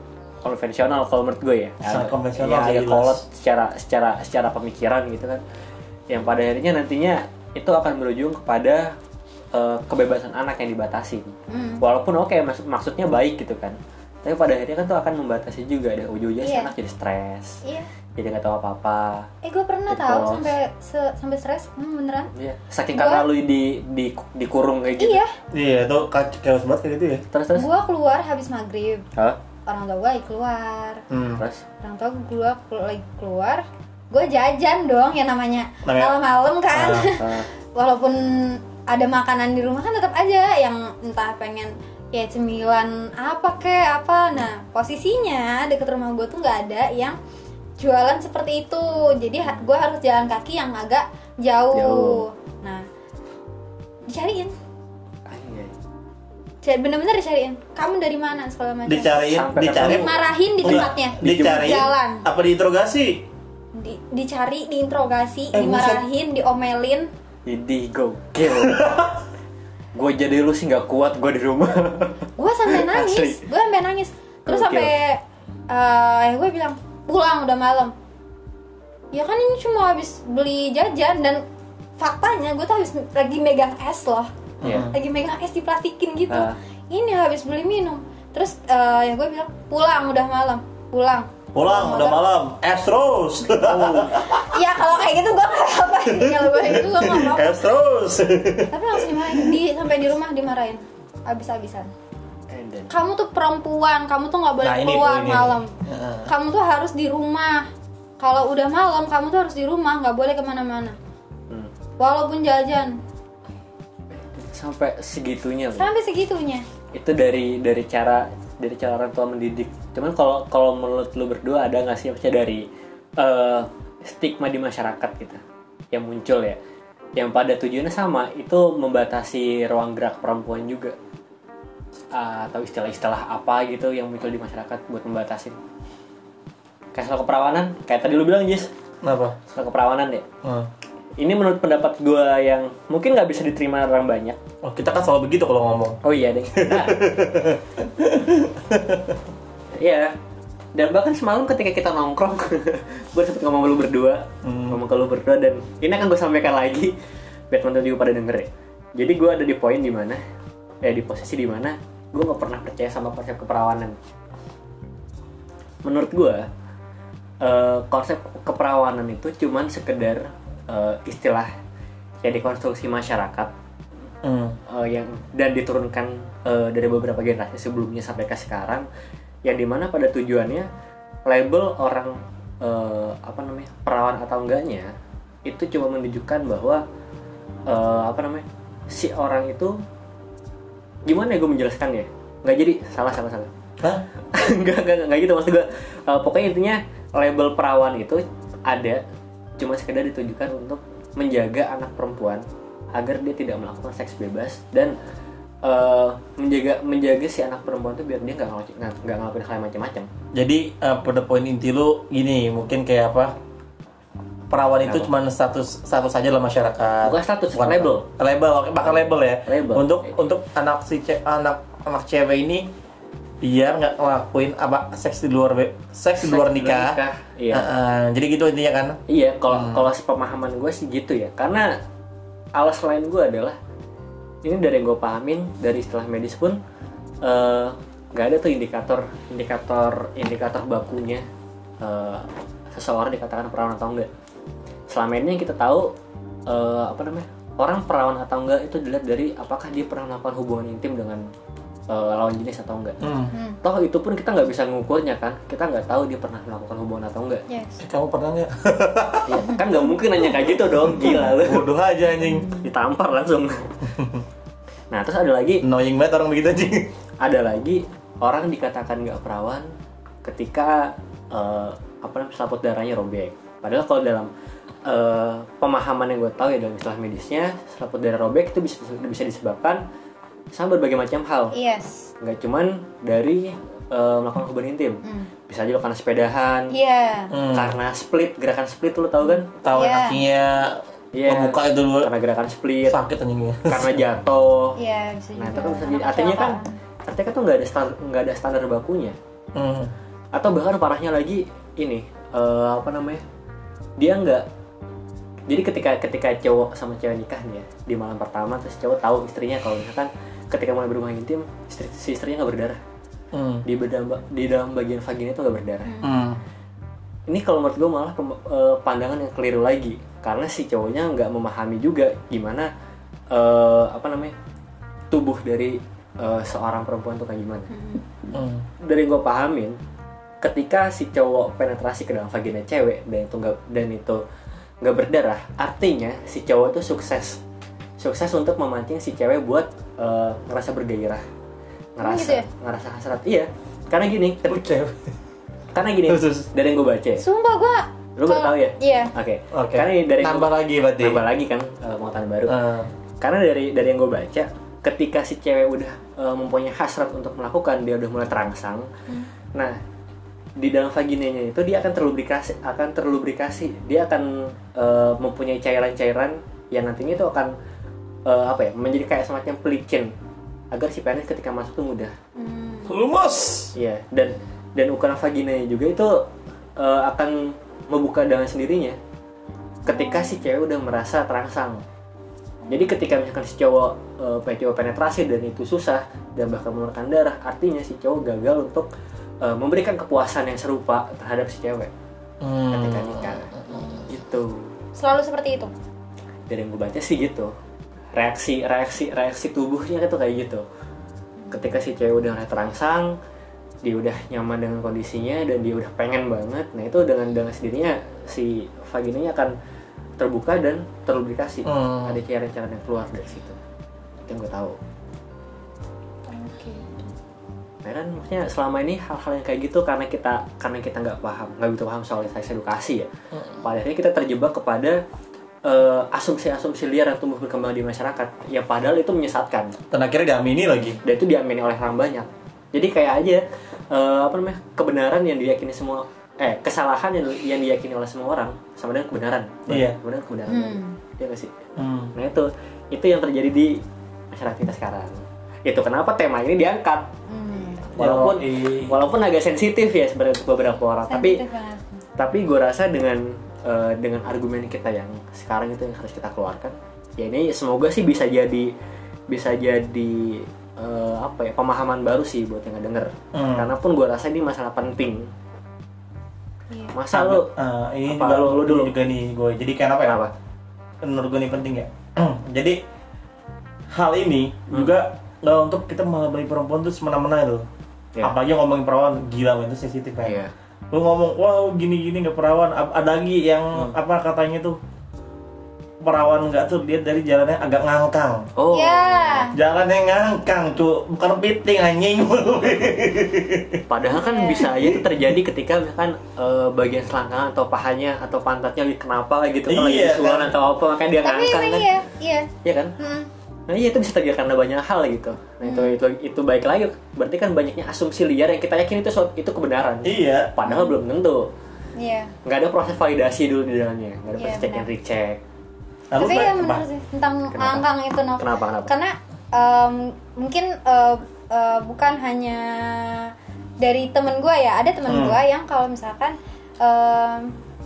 konvensional kalau menurut gue ya. Sangat Ada- konvensional ya, sih, agak jelas. kolot secara secara secara pemikiran gitu kan. Yang pada akhirnya nantinya itu akan berujung kepada eh, kebebasan anak yang dibatasi. Walaupun oke mas- maksudnya baik gitu kan. Tapi pada akhirnya kan tuh akan membatasi juga ada ujung-ujungnya si Iya. anak jadi stres. iya Jadi nggak tahu apa-apa. Eh gue pernah Gitu. tahu sampai se- sampai stres, hmm, beneran? Iya, saking karena lu di di dikurung kayak gitu. Iya, Iya, itu kac- chaos banget kayak gitu ya. Terus terus. gue Iya, keluar habis maghrib, Hah? orang tua gue lagi keluar, Hmm. Terus. orang tua gue lagi keluar, gue jajan dong yang namanya Namanya- malam-malam kan, Ah, walaupun ada makanan di rumah kan tetap aja yang entah pengen ya cemilan apa kek apa, nah posisinya deket rumah gue tuh nggak ada yang jualan seperti itu, jadi gue harus jalan kaki yang agak Jauh. jauh. nah dicariin anjay. Cari bener-bener dicariin. Kamu dari mana segala macam. Dicariin, Sampai dicariin. ketemu. Marahin di Enggak, tempatnya. Dicariin. Jalan. Apa diinterogasi? Di- dicari, diinterogasi, Eh, buset. dimarahin, diomelin. Jadi go kill. gue jadi lu sih nggak kuat gue di rumah. Gue sampai nangis. Asli. Gue sampai nangis. Terus Gokil. sampai eh gue bilang pulang udah malam. Ya kan ini cuma habis beli jajan dan faktanya gue tuh habis lagi megang es loh. Iya. Lagi megang es diplastikin gitu. Ah. Ini habis beli minum. Terus eh, ya gue bilang pulang udah malam. Pulang. Pulang udah malam. Es terus. Oh. ya kalau kayak gitu gue nggak apa-apa sih kalau gue kayak gitu gue nggak apa-apa Es terus. tapi langsung dimarahin di sampai di rumah dimarahin abis-abisan And then. kamu tuh perempuan kamu tuh nggak boleh Nah, ini keluar poinnya nih. malam Heeh. kamu tuh harus di rumah kalau udah malam kamu tuh harus di rumah nggak boleh kemana-mana Hmm. walaupun jajan Sampai segitunya lu. sampai segitunya Itu dari dari cara dari cara orang tua mendidik. Cuman kalau kalau menurut lu berdua ada nggak sih maksudnya dari eh, stigma di masyarakat gitu yang muncul ya yang pada tujuannya sama itu membatasi ruang gerak perempuan juga Ah, atau istilah-istilah apa gitu yang muncul di masyarakat buat membatasi kayak soal keperawanan kayak tadi lu bilang Jis Kenapa? soal keperawanan ya Hmm. ini menurut pendapat gua yang mungkin nggak bisa diterima orang banyak Oh, kita kan selalu begitu kalau ngomong. oh iya deh Nah. iya dan bahkan semalam ketika kita nongkrong gue sempet ngomong ke lu berdua ngomong ke lu berdua dan ini akan gue sampaikan lagi biar teman-teman juga pada denger ya jadi gue ada di poin di mana eh di posisi di mana gue nggak pernah percaya sama konsep keperawanan menurut gue konsep keperawanan itu cuman sekedar eh, istilah yang dikonstruksi masyarakat Hmm. eh, yang dan diturunkan eh, dari beberapa generasi sebelumnya sampai ke sekarang yang dimana pada tujuannya label orang eh, apa namanya perawan atau enggaknya itu cuma menunjukkan bahwa eh, apa namanya si orang itu gimana ya gue menjelaskannya nggak jadi salah salah salah Hah? nggak nggak nggak gitu maksud gue eh, pokoknya intinya label perawan itu ada cuma sekedar ditujukan untuk menjaga anak perempuan agar dia tidak melakukan seks bebas dan eh, menjaga menjaga si anak perempuan itu biar dia nggak ngelakuin nggak ngelakuin hal yang macam-macam Jadi eh, pada poin inti lu gini, mungkin kayak apa? perawan itu Kenapa? cuma status status saja dalam masyarakat. Bukan status, label. apa. Label, oke, bakal label ya. Label. Untuk Oke. untuk anak si ce- anak anak cewek ini biar nggak ngelakuin apa seks di luar be- seks di Seks luar di luar nikah. nikah, iya. Heeh, jadi gitu intinya kan. Iya, kalau kalau sepemahaman gue sih gitu ya. Karena alas lain gue adalah ini dari yang gue pahamin dari istilah medis pun eh, nggak ada tuh indikator indikator indikator bakunya eh, seseorang dikatakan perawan atau enggak. Selama ini yang kita tahu eh, apa namanya orang perawan atau enggak itu dilihat dari apakah dia pernah melakukan hubungan intim dengan eh, lawan jenis atau enggak. Hmm. Toh itu pun kita nggak bisa mengukurnya kan, kita nggak tahu dia pernah melakukan hubungan atau enggak. Yes. Eh, Kamu pernah nggak? Iya, kan nggak mungkin nanya kayak gitu dong, gila lu. Bodoh aja anjing. Ditampar langsung. Nah, terus ada lagi, Annoying banget orang begitu anjing. ada lagi orang dikatakan nggak perawan ketika eh, apa namanya selaput darahnya robek. Padahal kalau dalam eh, pemahaman yang gue tahu ya dalam istilah medisnya, selaput darah robek itu bisa bisa disebabkan sama berbagai macam hal. Yes. Nggak cuman dari eh, melakukan hubungan intim. Hmm. Bisa aja lo karena sepedahan, Iya. Hmm. karena split, gerakan split lo tau kan? Tahu Iya. kakinya Iya. membuka itu dulu. Karena gerakan split, Sakit ya. anjingnya. karena jatuh. Iya, bisa juga. Nah itu kan bisa jadi- Anak artinya kan kecelakaan. artinya kan tuh nggak ada standar nggak ada standar bakunya Hmm. atau bahkan parahnya lagi ini eh, apa namanya dia nggak jadi ketika ketika cowok sama cewek nikah nih ya di malam pertama terus cowok tahu istrinya kalau misalkan ketika mulai berhubungan intim istri, si istrinya nggak berdarah Hmm. di bedam, di dalam bagian vagina itu nggak berdarah Hmm. ini kalau menurut gue malah pem- eh, pandangan yang keliru lagi karena si cowoknya nggak memahami juga gimana eh, apa namanya tubuh dari eh, seorang perempuan itu kayak gimana Hmm. dari gue pahamin ketika si cowok penetrasi ke dalam vagina cewek dan itu nggak dan itu nggak berdarah artinya si cowok itu sukses sukses untuk memancing si cewek buat eh, ngerasa bergairah ngerasa gitu ya? ngerasa hasrat iya karena gini ketika- Oke. karena gini Terus, Iya, terus. dari yang gue baca ya. Sumpah gua Lu baru kalau- tahu ya? Iya. Oke. Oke. Karena Kan ini dari Tambah lagi berarti. tambah lagi kan eh, pengetahuan baru. Eh, Karena dari dari yang gue baca, ketika si cewek udah eh, mempunyai hasrat untuk melakukan, dia udah mulai terangsang. Nah, di dalam vaginanya itu dia akan terlubrikasi, akan terlubrikasi. Dia akan eh, mempunyai cairan-cairan yang nantinya itu akan eh, apa ya? Menjadi kayak semacam pelicin agar si penis ketika masuk tuh mudah. Hmm. Lumos. Iya, dan dan ukuran vaginanya juga itu eh, akan membuka dengan sendirinya ketika si cewek udah merasa terangsang. Jadi ketika misalkan si cowok eh, pe- cowok penetrasi dan itu susah dan bahkan mengeluarkan darah, artinya si cowok gagal untuk eh, memberikan kepuasan yang serupa terhadap si cewek hmm. ketika nikah. Gitu. Selalu seperti itu. Dari yang gue baca sih gitu. Reaksi reaksi reaksi tubuhnya itu kayak gitu. Ketika si cewek udah mulai terangsang, dia udah nyaman dengan kondisinya dan dia udah pengen banget nah itu dengan dengan sendirinya si vaginanya akan terbuka dan terlubrikasi Hmm. ada cairan-cairan yang keluar dari situ itu yang gue tahu Oke. Meran Ya kan, maksudnya selama ini hal-hal yang kayak gitu karena kita karena kita nggak paham nggak begitu paham soal seks edukasi ya pada akhirnya kita terjebak kepada eh, asumsi-asumsi liar yang tumbuh berkembang di masyarakat ya padahal itu menyesatkan Dan akhirnya diamini lagi. dan itu diamini oleh orang banyak jadi kayak aja eh, apa namanya kebenaran yang diyakini semua eh kesalahan yang, yang diyakini oleh semua orang sama dengan kebenaran Iya. kebenaran kebenaran Hmm. Iya nggak sih Hmm. nah itu itu yang terjadi di masyarakat kita sekarang itu kenapa tema ini diangkat Hmm. Iya. walaupun Yoi. walaupun agak sensitif ya sebenarnya untuk beberapa orang tapi Sensitif banget. tapi gue rasa dengan eh, dengan argumen kita yang sekarang itu yang harus kita keluarkan ya ini semoga sih bisa jadi bisa jadi eh, apa ya pemahaman baru sih buat yang denger Hmm. karena pun gue rasa ini masalah penting Iya. masa lo Eh, ini Apa, juga, lu- lu dulu? ini juga nih gue. Jadi kenapa ya? Kenapa? Menurut gue ini penting ya. Jadi hal ini Hmm. juga nggak untuk kita mengabaikan perempuan tuh semena-mena itu. Iya. Apalagi ngomongin perawan gila banget itu sensitif ya. Iya. Lu ngomong wow gini-gini nggak perawan. Ap- Ada lagi yang apa katanya tuh perawan nggak tuh dia dari jalannya agak ngangkang. oh Ya. Jalan yang ngangkang tuh bukan piting anjing. padahal kan bisa aja itu terjadi ketika misalkan eh, bagian selangkangan atau pahanya atau pantatnya lagi kenapa gitu kalau lagi Iya, disulan kan. atau apa makanya dia Tapi ngangkat emang kan iya, iya. Iya kan Hmm. Nah iya itu bisa terjadi karena banyak hal gitu. Nah itu itu itu baik lagi. Berarti kan banyaknya asumsi liar yang kita yakin itu suatu- itu kebenaran. iya. Padahal belum tentu. Iya. nggak ada proses validasi dulu di dalamnya nggak ada Iya, proses check and benar. recheck Lalu Tapi Mbak, ya benar Mbak, sih tentang Kenapa? langkang itu Nov. Kenapa, kenapa? Karena em, mungkin eh, eh, bukan hanya dari temen gue ya, ada temen Hmm. gue yang kalau misalkan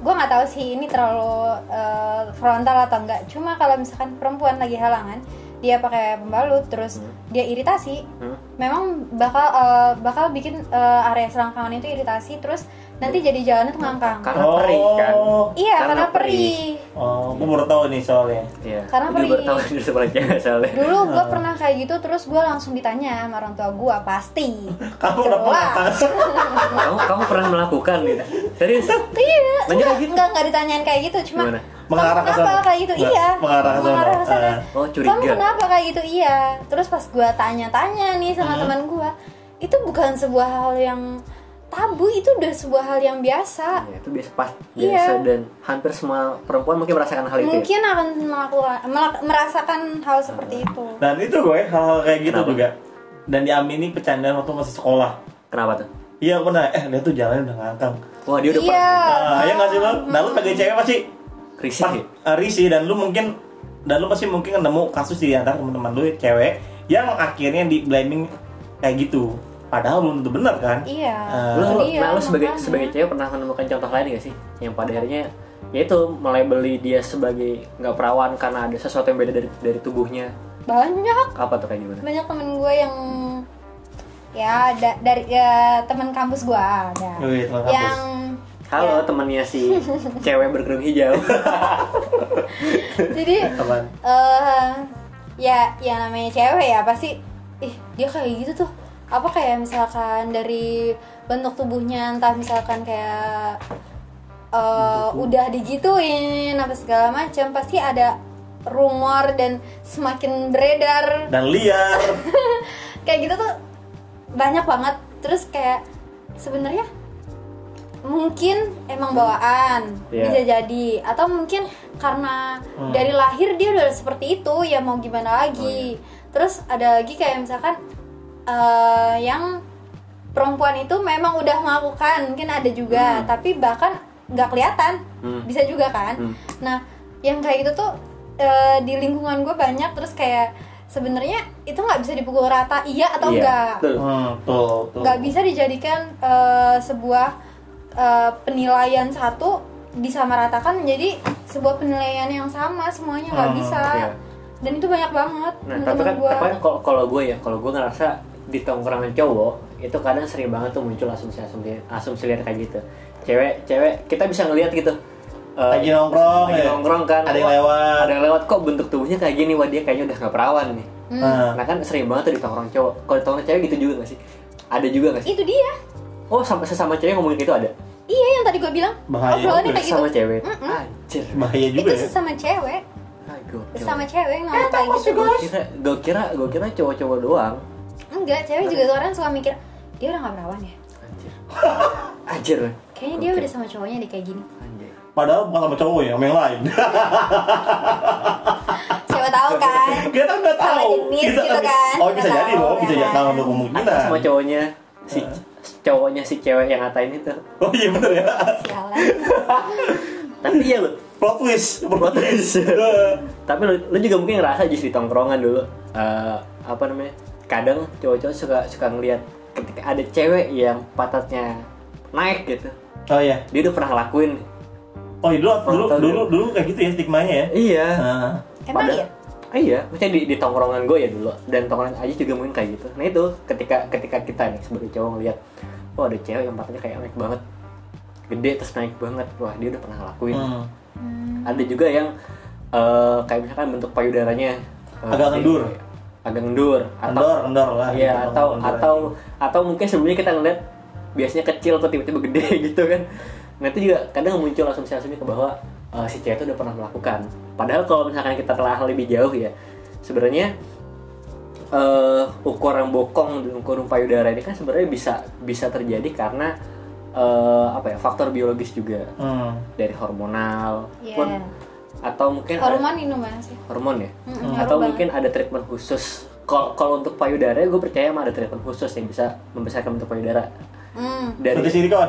gue nggak tahu sih ini terlalu eh, frontal atau enggak. Cuma kalau misalkan perempuan lagi halangan, dia pakai pembalut, terus dia iritasi, Hmm? memang bakal eh, bakal bikin eh, area selangkangan itu iritasi, terus nanti jadi jalannya tuh ngangkang. karena perih kan Oh. Iya, karena, karena perih. perih. oh, gue baru tahu nih soalnya. Iya. Karena Itu baru perih. tahu dari sebaliknya soalnya dulu gue pernah kayak gitu terus gue langsung ditanya sama orang tua gue pasti Kamu udah pernah Jelas. kamu kamu pernah melakukan gitu serius iya Lanjut enggak, lagi. enggak enggak ditanyain kayak gitu cuma Gimana? Mengarah ke kenapa sana. kayak gitu Nggak, iya mengarah ke sana. ke sana. Ah. Oh, curiga. kamu kenapa kayak gitu iya terus pas gue tanya-tanya nih sama teman gue itu bukan sebuah hal yang tabu itu udah sebuah hal yang biasa Ya, itu biasa pas Iya. biasa dan hampir semua perempuan mungkin merasakan hal itu ya? mungkin akan melakukan melak- merasakan hal seperti itu Dan itu gue hal-hal kayak gitu Kenapa? juga. Dan diamini bercandaan waktu masih sekolah. kenapa tuh Iya pernah, eh dia tuh jalannya udah ngangkang wah dia udah Iya. pernah Ah, ya nggak sih bang? Nah lu sebagai cewek pasti krisis pat, ya eh, risih dan lu mungkin dan lu pasti mungkin nemu kasus di antara teman-teman lu cewek yang akhirnya di blaming kayak gitu. Padahal belum tentu benar kan? iya Ah. lu, Iya, nah, lu sebagai makanya. sebagai cewek pernah menemukan contoh lain gak sih yang pada akhirnya yaitu melebeli dia sebagai nggak perawan karena ada sesuatu yang beda dari dari tubuhnya banyak apa tuh kayak gimana banyak temen gue yang ya da- dari ya, teman kampus gue ada Wih, teman kampus. yang Ya. halo temennya si cewek berkerudung hijau jadi Apaan? eh ya ya namanya cewek ya pasti ih dia kayak gitu tuh apa kayak misalkan dari bentuk tubuhnya entah misalkan kayak eh, udah digituin apa segala macam pasti ada rumor dan semakin beredar Dan liar. kayak gitu tuh banyak banget terus kayak sebenarnya mungkin emang bawaan Iya. bisa jadi atau mungkin karena dari lahir dia udah seperti itu ya mau gimana lagi terus ada lagi kayak misalkan eh, yang perempuan itu memang udah melakukan mungkin ada juga tapi bahkan nggak kelihatan Hmm. bisa juga kan Hmm. nah yang kayak gitu tuh eh, di lingkungan gue banyak terus kayak sebenarnya itu nggak bisa dipukul rata iya atau enggak betul. hmm, tuh, tuh. nggak bisa dijadikan eh, sebuah eh, penilaian satu disamaratakan menjadi sebuah penilaian yang sama semuanya nggak Hmm, bisa iya. dan itu banyak banget Nah, tapi teman-teman kan, gue tapi kan kalau kalau gue ya, kalau gue ngerasa di tongkrongan cowok itu kadang sering banget tuh muncul asumsi asumsi asumsi liar kayak gitu. Cewek cewek kita bisa ngelihat gitu. eh, Lagi nongkrong, lagi ya. nongkrong kan. Ada yang Wah, lewat. Ada yang lewat kok bentuk tubuhnya kayak gini, wah dia kayaknya udah nggak perawan nih. Hmm. Nah, Nah kan sering banget tuh di tongkrong cowok. Kalau di tongkrong cewek gitu juga nggak sih? Ada juga nggak sih? itu dia Oh sama sesama cewek ngomongin gitu ada. iya yang tadi gue bilang Bahaya obrolannya kayak gitu Sesama cewek. Anjir. bahaya itu juga ya. sesama cewek Ah, gokil. sesama cewek ngomong kayak gitu Gue kira, gue kira, gue kira cowok-cowok doang. enggak cewek juga sekarang suka mikir dia udah nggak perawan ya Anjir. Anjir. kayaknya dia Gokil. udah sama cowoknya deh kayak gini Anjir. Padahal bukan sama cowok ya, sama yang lain. siapa tahu kan kita nggak Sama tahu. jenis Kita gitu nggak- kan, Oh nggak bisa jadi tahu, loh, bisa ya jadi kan? kalau untuk kemungkinan. Atau sama cowoknya si cowoknya si cewek yang ngatain itu. Oh iya bener ya. sialan Tapi iya lu, Plot twist, plot twist. tapi lu, lu juga mungkin ngerasa just di tongkrongan dulu. Eh, apa namanya? Kadang cowok-cowok suka suka ngelihat ketika ada cewek yang pantatnya naik gitu. oh iya. Dia udah pernah ngelakuin. Oh iya dulu dulu Tahu dulu, dia. dulu kayak gitu ya stigmanya ya. Iya. Nah, emang Padahal- iya Ah, iya, maksudnya di, di tongkrongan gue ya dulu dan tongkrongan aja juga mungkin kayak gitu. Nah itu ketika ketika kita nih sebagai cowok ngeliat, wah ada cewek yang matanya kayak naik banget, gede terus naik banget, wah dia udah pernah ngelakuin. hmm. Ada juga yang eh, kayak misalkan bentuk payudaranya eh, Agak ngendur. agak ngendur, atau Kendor, kendor lah. iya gitu, atau kendor. atau atau mungkin sebelumnya kita ngeliat biasanya kecil kok tiba-tiba gede gitu kan. Nah itu juga kadang muncul asumsi-asumsi ke bahwa eh, si cewek itu udah pernah melakukan. Padahal kalau misalkan kita telah lebih jauh ya, sebenarnya eh ukuran bokong dan ukuran payudara ini kan sebenarnya bisa bisa terjadi karena eh, apa ya faktor biologis juga Hmm. dari hormonal Iya. pun atau mungkin ada- hormon minuman sih Hmm, hormon ya Mm-mm, atau ngaruh mungkin ada treatment khusus Kal- kalau untuk payudara gue percaya emang ada treatment khusus yang bisa membesarkan bentuk payudara Hmm. Suntik dari silikon.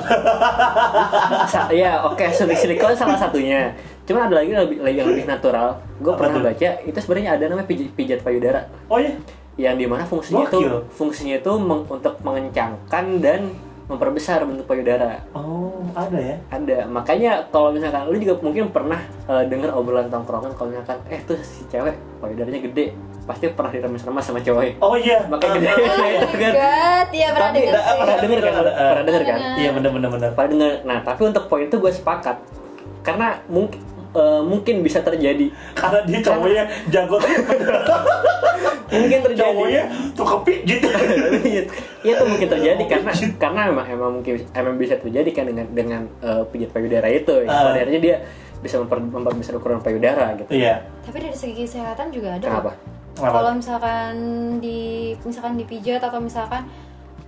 Sa- ya oke suntik silikon salah satunya cuma ada lagi yang lebih yang lebih natural gue Apa pernah tuh? baca itu sebenarnya ada namanya pijat, pijat payudara Oh iya. yang dimana fungsinya itu Gokil. fungsinya itu meng- untuk mengencangkan dan memperbesar bentuk payudara Oh, ada ya. ada makanya kalau misalkan lu juga mungkin pernah eh, dengar obrolan tongkrongan kalau misalkan eh tuh si cewek payudaranya gede pasti pernah diremes-remes sama cowoknya Oh iya. makanya gede Oh itu my kan god, iya pernah Tapi- dengar Nah, sih. pernah dengar kan Ada, eh. pernah dengar kan Iya bener bener bener. pernah dengar nah tapi untuk poin itu gue sepakat karena mungkin mungkin bisa terjadi Karena dia cowoknya jago mungkin terjadi cowoknya tukang pijit. Iya tuh mungkin terjadi karena karena emang emang mungkin emang bisa terjadi kan dengan dengan eh, pijat payudara itu ya. Ah. Sebenarnya dia bisa memper, memperbesar ukuran payudara gitu. Iya. Tapi dari segi kesehatan juga ada. kok. Kenapa? Kenapa? Kalau misalkan di misalkan dipijat atau misalkan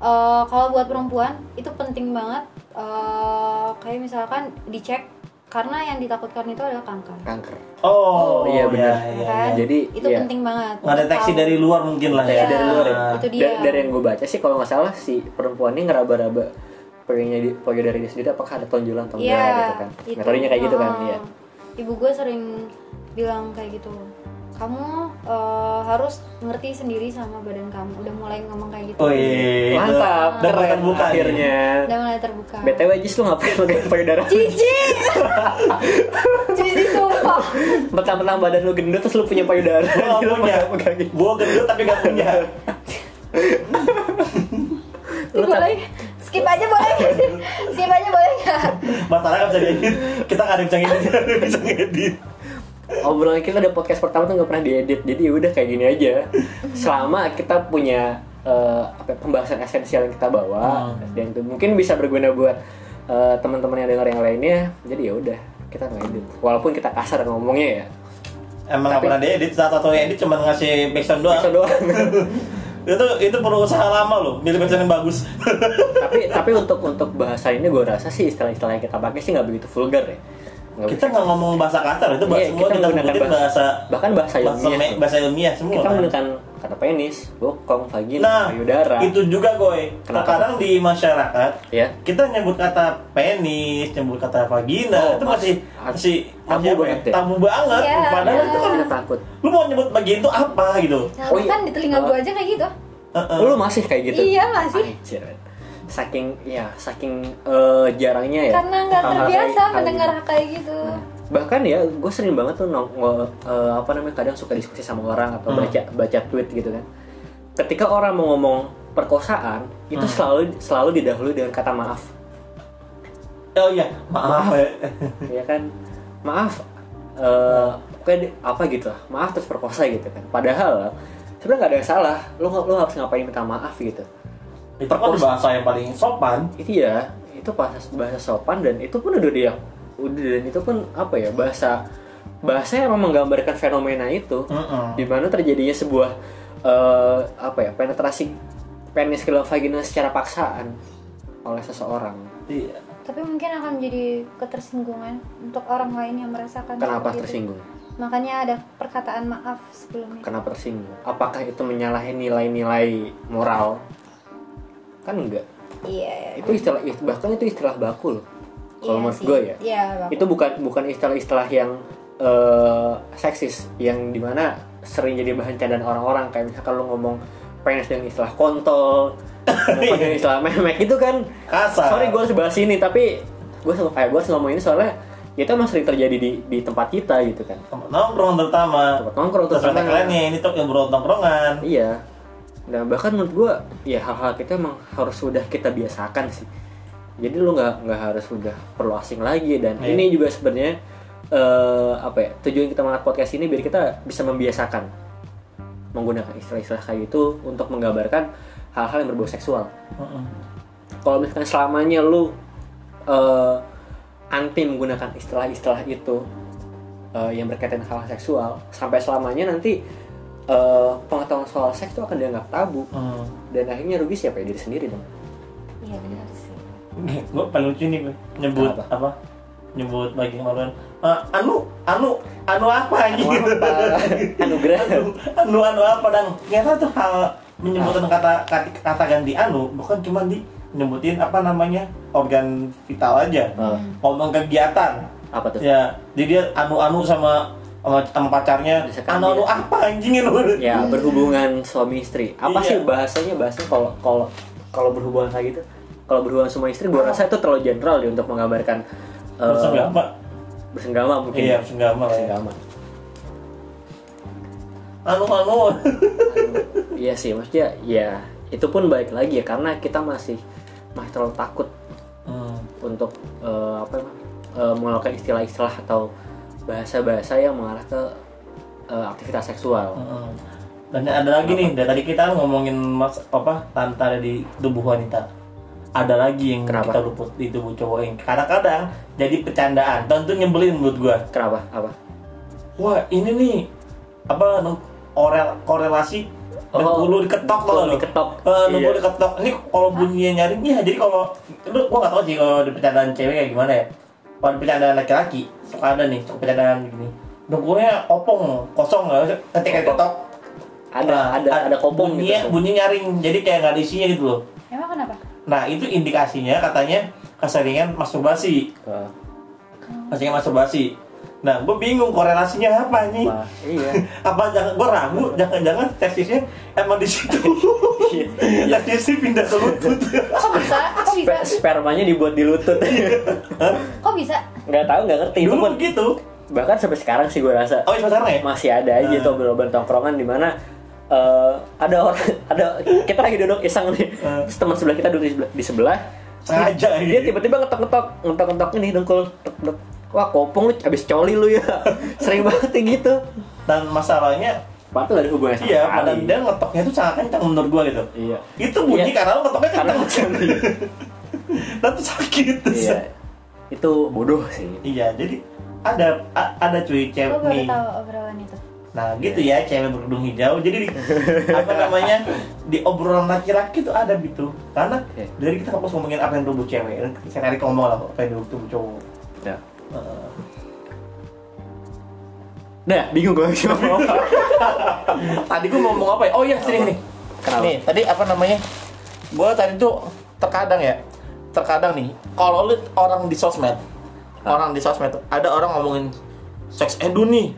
eh, kalau buat perempuan itu penting banget eh, kayak misalkan dicek karena yang ditakutkan itu adalah kanker. Kanker. Oh, Oh, iya, bener. iya, iya. Kan? Jadi, itu iya. penting banget. Kan? Ngedeteksi Tahu. dari luar mungkin lah Iya, ya. dari luar ya. Itu dia. Da- dari yang gue baca sih kalau nggak salah si perempuan ini ngeraba-raba pengennya di payudara dia sendiri apakah ada tonjolan tonjolan Iya. Oh. gitu kan. Metodenya kayak gitu kan Heeh. iya. Ibu gue sering bilang kayak gitu. Kamu eh, harus ngerti sendiri sama badan kamu. Udah mulai ngomong kayak gitu. Oh iya. itu Mantap, Udah mulai keren terbuka akhirnya. Udah mulai terbuka. BTW Jis lu ngapain pakai payudara? Cici. Cici sumpah. Mentang-mentang badan lu gendut terus lu punya payudara. Gua Lu punya. pakai- pakai gini. Gua gendut tapi gak punya. Ini boleh skip aja boleh. skip aja boleh nggak? Masalahnya gak bisa diedit. Kita gak ada yang bisa ngedit. Gak ada yang bisa ngedit. obrolan kita udah podcast pertama tuh nggak pernah diedit jadi ya udah kayak gini aja selama kita punya eh, apa ya, pembahasan esensial yang kita bawa Hmm. dan itu mungkin bisa berguna buat eh, teman-teman yang dengar yang lainnya jadi ya udah kita nggak edit walaupun kita kasar ngomongnya ya Emang gak Tapi- pernah diedit. Saat satu edit cuma ngasih backsound doang. Bisa doang. itu itu perlu usaha lama loh. Milih backsound yang bagus. tapi tapi untuk untuk bahasa ini gue rasa sih istilah-istilah yang kita pakai sih nggak begitu vulgar ya Nggak kita nggak ngomong bahasa kasar. Itu Iya, bahasa semua kita, menggunakan ngikutin bahasa bahkan bahasa bahasa, ilmiah me- bahasa ilmiah semua. kita kan? menggunakan kata penis bokong vagina Nah, payudara itu juga goy. Kenapa? Terkadang di masyarakat ya kita nyebut kata penis, nyebut kata vagina Oh, itu mas- masih mas- masih tabu masih apa banget ya? Tabu banget. Iya, Padahal iya. itu kan kita takut lu mau nyebut bagian itu apa gitu. Nah, Oh, iya. kan di telinga gue aja kayak gitu. Heeh. lu masih kayak gitu Iya, masih. Anjir. saking ya saking eh, jarangnya ya Karena nggak hal-hal terbiasa kayak- hal mendengar ini. kayak gitu. Nah, bahkan ya gue sering banget tuh nong nge- eh, apa namanya kadang suka diskusi sama orang atau Hmm. baca baca tweet gitu kan ketika orang mau ngomong perkosaan itu Hmm. selalu selalu didahului dengan kata maaf Oh iya, maaf. Maaf. ya. ya kan maaf eh kayak di- apa gitu lah maaf terus perkosa gitu kan padahal sebenarnya nggak ada yang salah lu lu harus ngapain minta maaf gitu itu kan bahasa yang paling sopan. itu ya itu bahasa bahasa sopan dan itu pun udah dia udah dan itu pun apa ya bahasa bahasa yang memang menggambarkan fenomena itu Mm-mm. di mana terjadinya sebuah eh, apa ya penetrasi penis ke dalam vagina secara paksaan oleh seseorang Iya. Tapi mungkin akan menjadi ketersinggungan untuk orang lain yang merasakan. gitu. kenapa seperti itu. tersinggung Makanya ada perkataan maaf sebelumnya. kenapa tersinggung apakah itu menyalahi nilai-nilai moral kan enggak Iya. itu istilah bahkan itu istilah baku loh kalau iya menurut sih. gue ya Iya, Bang. itu bukan bukan istilah-istilah yang eh, seksis yang dimana sering jadi bahan candaan orang-orang kayak misalkan lu ngomong penis dengan istilah kontol ngomong dengan istilah memek gitu kan Kasar. sorry gue harus bahas ini tapi gue selalu kayak gue ngomong ini soalnya ya itu emang sering terjadi di, di tempat kita gitu kan Tempat nongkrong terutama. tempat nongkrong Terus terutama. kalian nih, ini tuh yang ya. nongkrongan. iya dan bahkan menurut gue ya hal-hal kita emang harus sudah kita biasakan sih jadi lu nggak nggak harus sudah perlu asing lagi dan Iya. ini juga sebenarnya eh apa ya tujuan kita mengangkat podcast ini biar kita bisa membiasakan menggunakan istilah-istilah kayak itu untuk menggambarkan hal-hal yang berbau seksual Mm-mm. kalau misalkan selamanya lu eh, anti menggunakan istilah-istilah itu eh, yang berkaitan hal seksual sampai selamanya nanti eh, pengetahuan soal seks itu akan dianggap tabu Mm. dan akhirnya rugi siapa ya diri sendiri dong Iya, benar sih. gue paling lucu nih gue nyebut Apa? apa, nyebut bagi kemaluan "Eh, anu anu anu apa Anu gitu apa? anugerah anu anu anu apa dan ternyata tuh hal menyebutkan kata kata kata ganti anu bukan cuma di nyebutin apa namanya organ vital aja Eh, ngomong kegiatan apa tuh? ya jadi dia anu-anu sama sama, sama pacarnya Bisa kan anu-anu dia. apa anjing lu Ya berhubungan suami istri. Apa Iya. sih bahasanya bahasanya kalau kalau kalau berhubungan kayak gitu? Kalau berhubungan suami istri, gua rasa itu terlalu general deh untuk menggambarkan eh, bersenggama bersenggama mungkin. iya bersenggama lah ya. bersenggama. anu-anu Iya sih, maksudnya ya itu pun baik lagi ya karena kita masih masih terlalu takut Hmm. untuk eh, apa emang, eh, mengeluarkan istilah-istilah atau bahasa-bahasa yang mengarah ke eh, aktivitas seksual. Mm-mm. Hmm. Dan ada lagi nih, dari tadi kita ngomongin mas apa tantara di tubuh wanita. Ada lagi yang Kenapa? kita luput di tubuh cowok yang kadang-kadang jadi percandaan. Dan itu nyebelin menurut gua. Kenapa? Apa? Wah ini nih apa nung- korel- korelasi Oh, dengkul lu diketok dengkul tau lu diketok. Eh, dengkul Iya. diketok ini kalau bunyinya nyaring iya jadi kalau lu gua nggak tahu sih kalau di percandaan cewek kayak gimana ya kalau di percandaan laki-laki suka ada nih suka percandaan gini dengkulnya opong kosong nggak ketika diketok Ada nah, ada ada kopong bunyinya, gitu. bunyi nyaring jadi kayak nggak ada isinya gitu loh Emang kenapa? nah itu indikasinya katanya keseringan masturbasi Eh, keseringan masturbasi nah gue bingung korelasinya apa nih wah, iya. apa jangan gue ragu jangan-jangan testisnya emang di situ Iya. testisnya pindah ke lutut Kok bisa? Kok bisa? Spe- spermanya dibuat di lutut. Kok bisa? nggak tahu nggak ngerti itu dulu pun begitu bahkan sampai sekarang sih gue rasa oh iya sebenarnya ya masih ada aja Nah. tuh obrolan tongkrongan di mana eh, ada orang ada kita lagi duduk iseng nih Nah. Terus teman sebelah kita duduk di sebelah, di sebelah. sengaja dia gitu tiba-tiba ngetok-ngetok ngetok-ngetok ini dengkul tek, tek. wah kopong lu abis coli lu ya sering banget ya gitu dan masalahnya padahal nggak ada hubungannya sama iya sekali. badan dia ngetoknya tuh sangat kencang menurut gue gitu iya itu bunyi Iya. karena lo ngetoknya karena kencang dan tuh sakit iya itu bodoh sih iya jadi ada a- ada Gue cuy cewek baru nih tahu obrolan itu. nah gitu ya cewek berkedung hijau jadi di- apa namanya di obrolan laki-laki tuh ada gitu karena Oke. dari kita fokus ngomongin apa yang tubuh cewek dan saya tarik ngomong lah apa yang tubuh cowok ya. Heeh. nah bingung gue sih mau apa tadi gue mau ngomong apa ya oh iya sini nih Kenapa? nih tadi apa namanya gue tadi tuh terkadang ya terkadang nih kalau lu orang di sosmed orang di sosmed tuh, ada orang ngomongin seks edu nih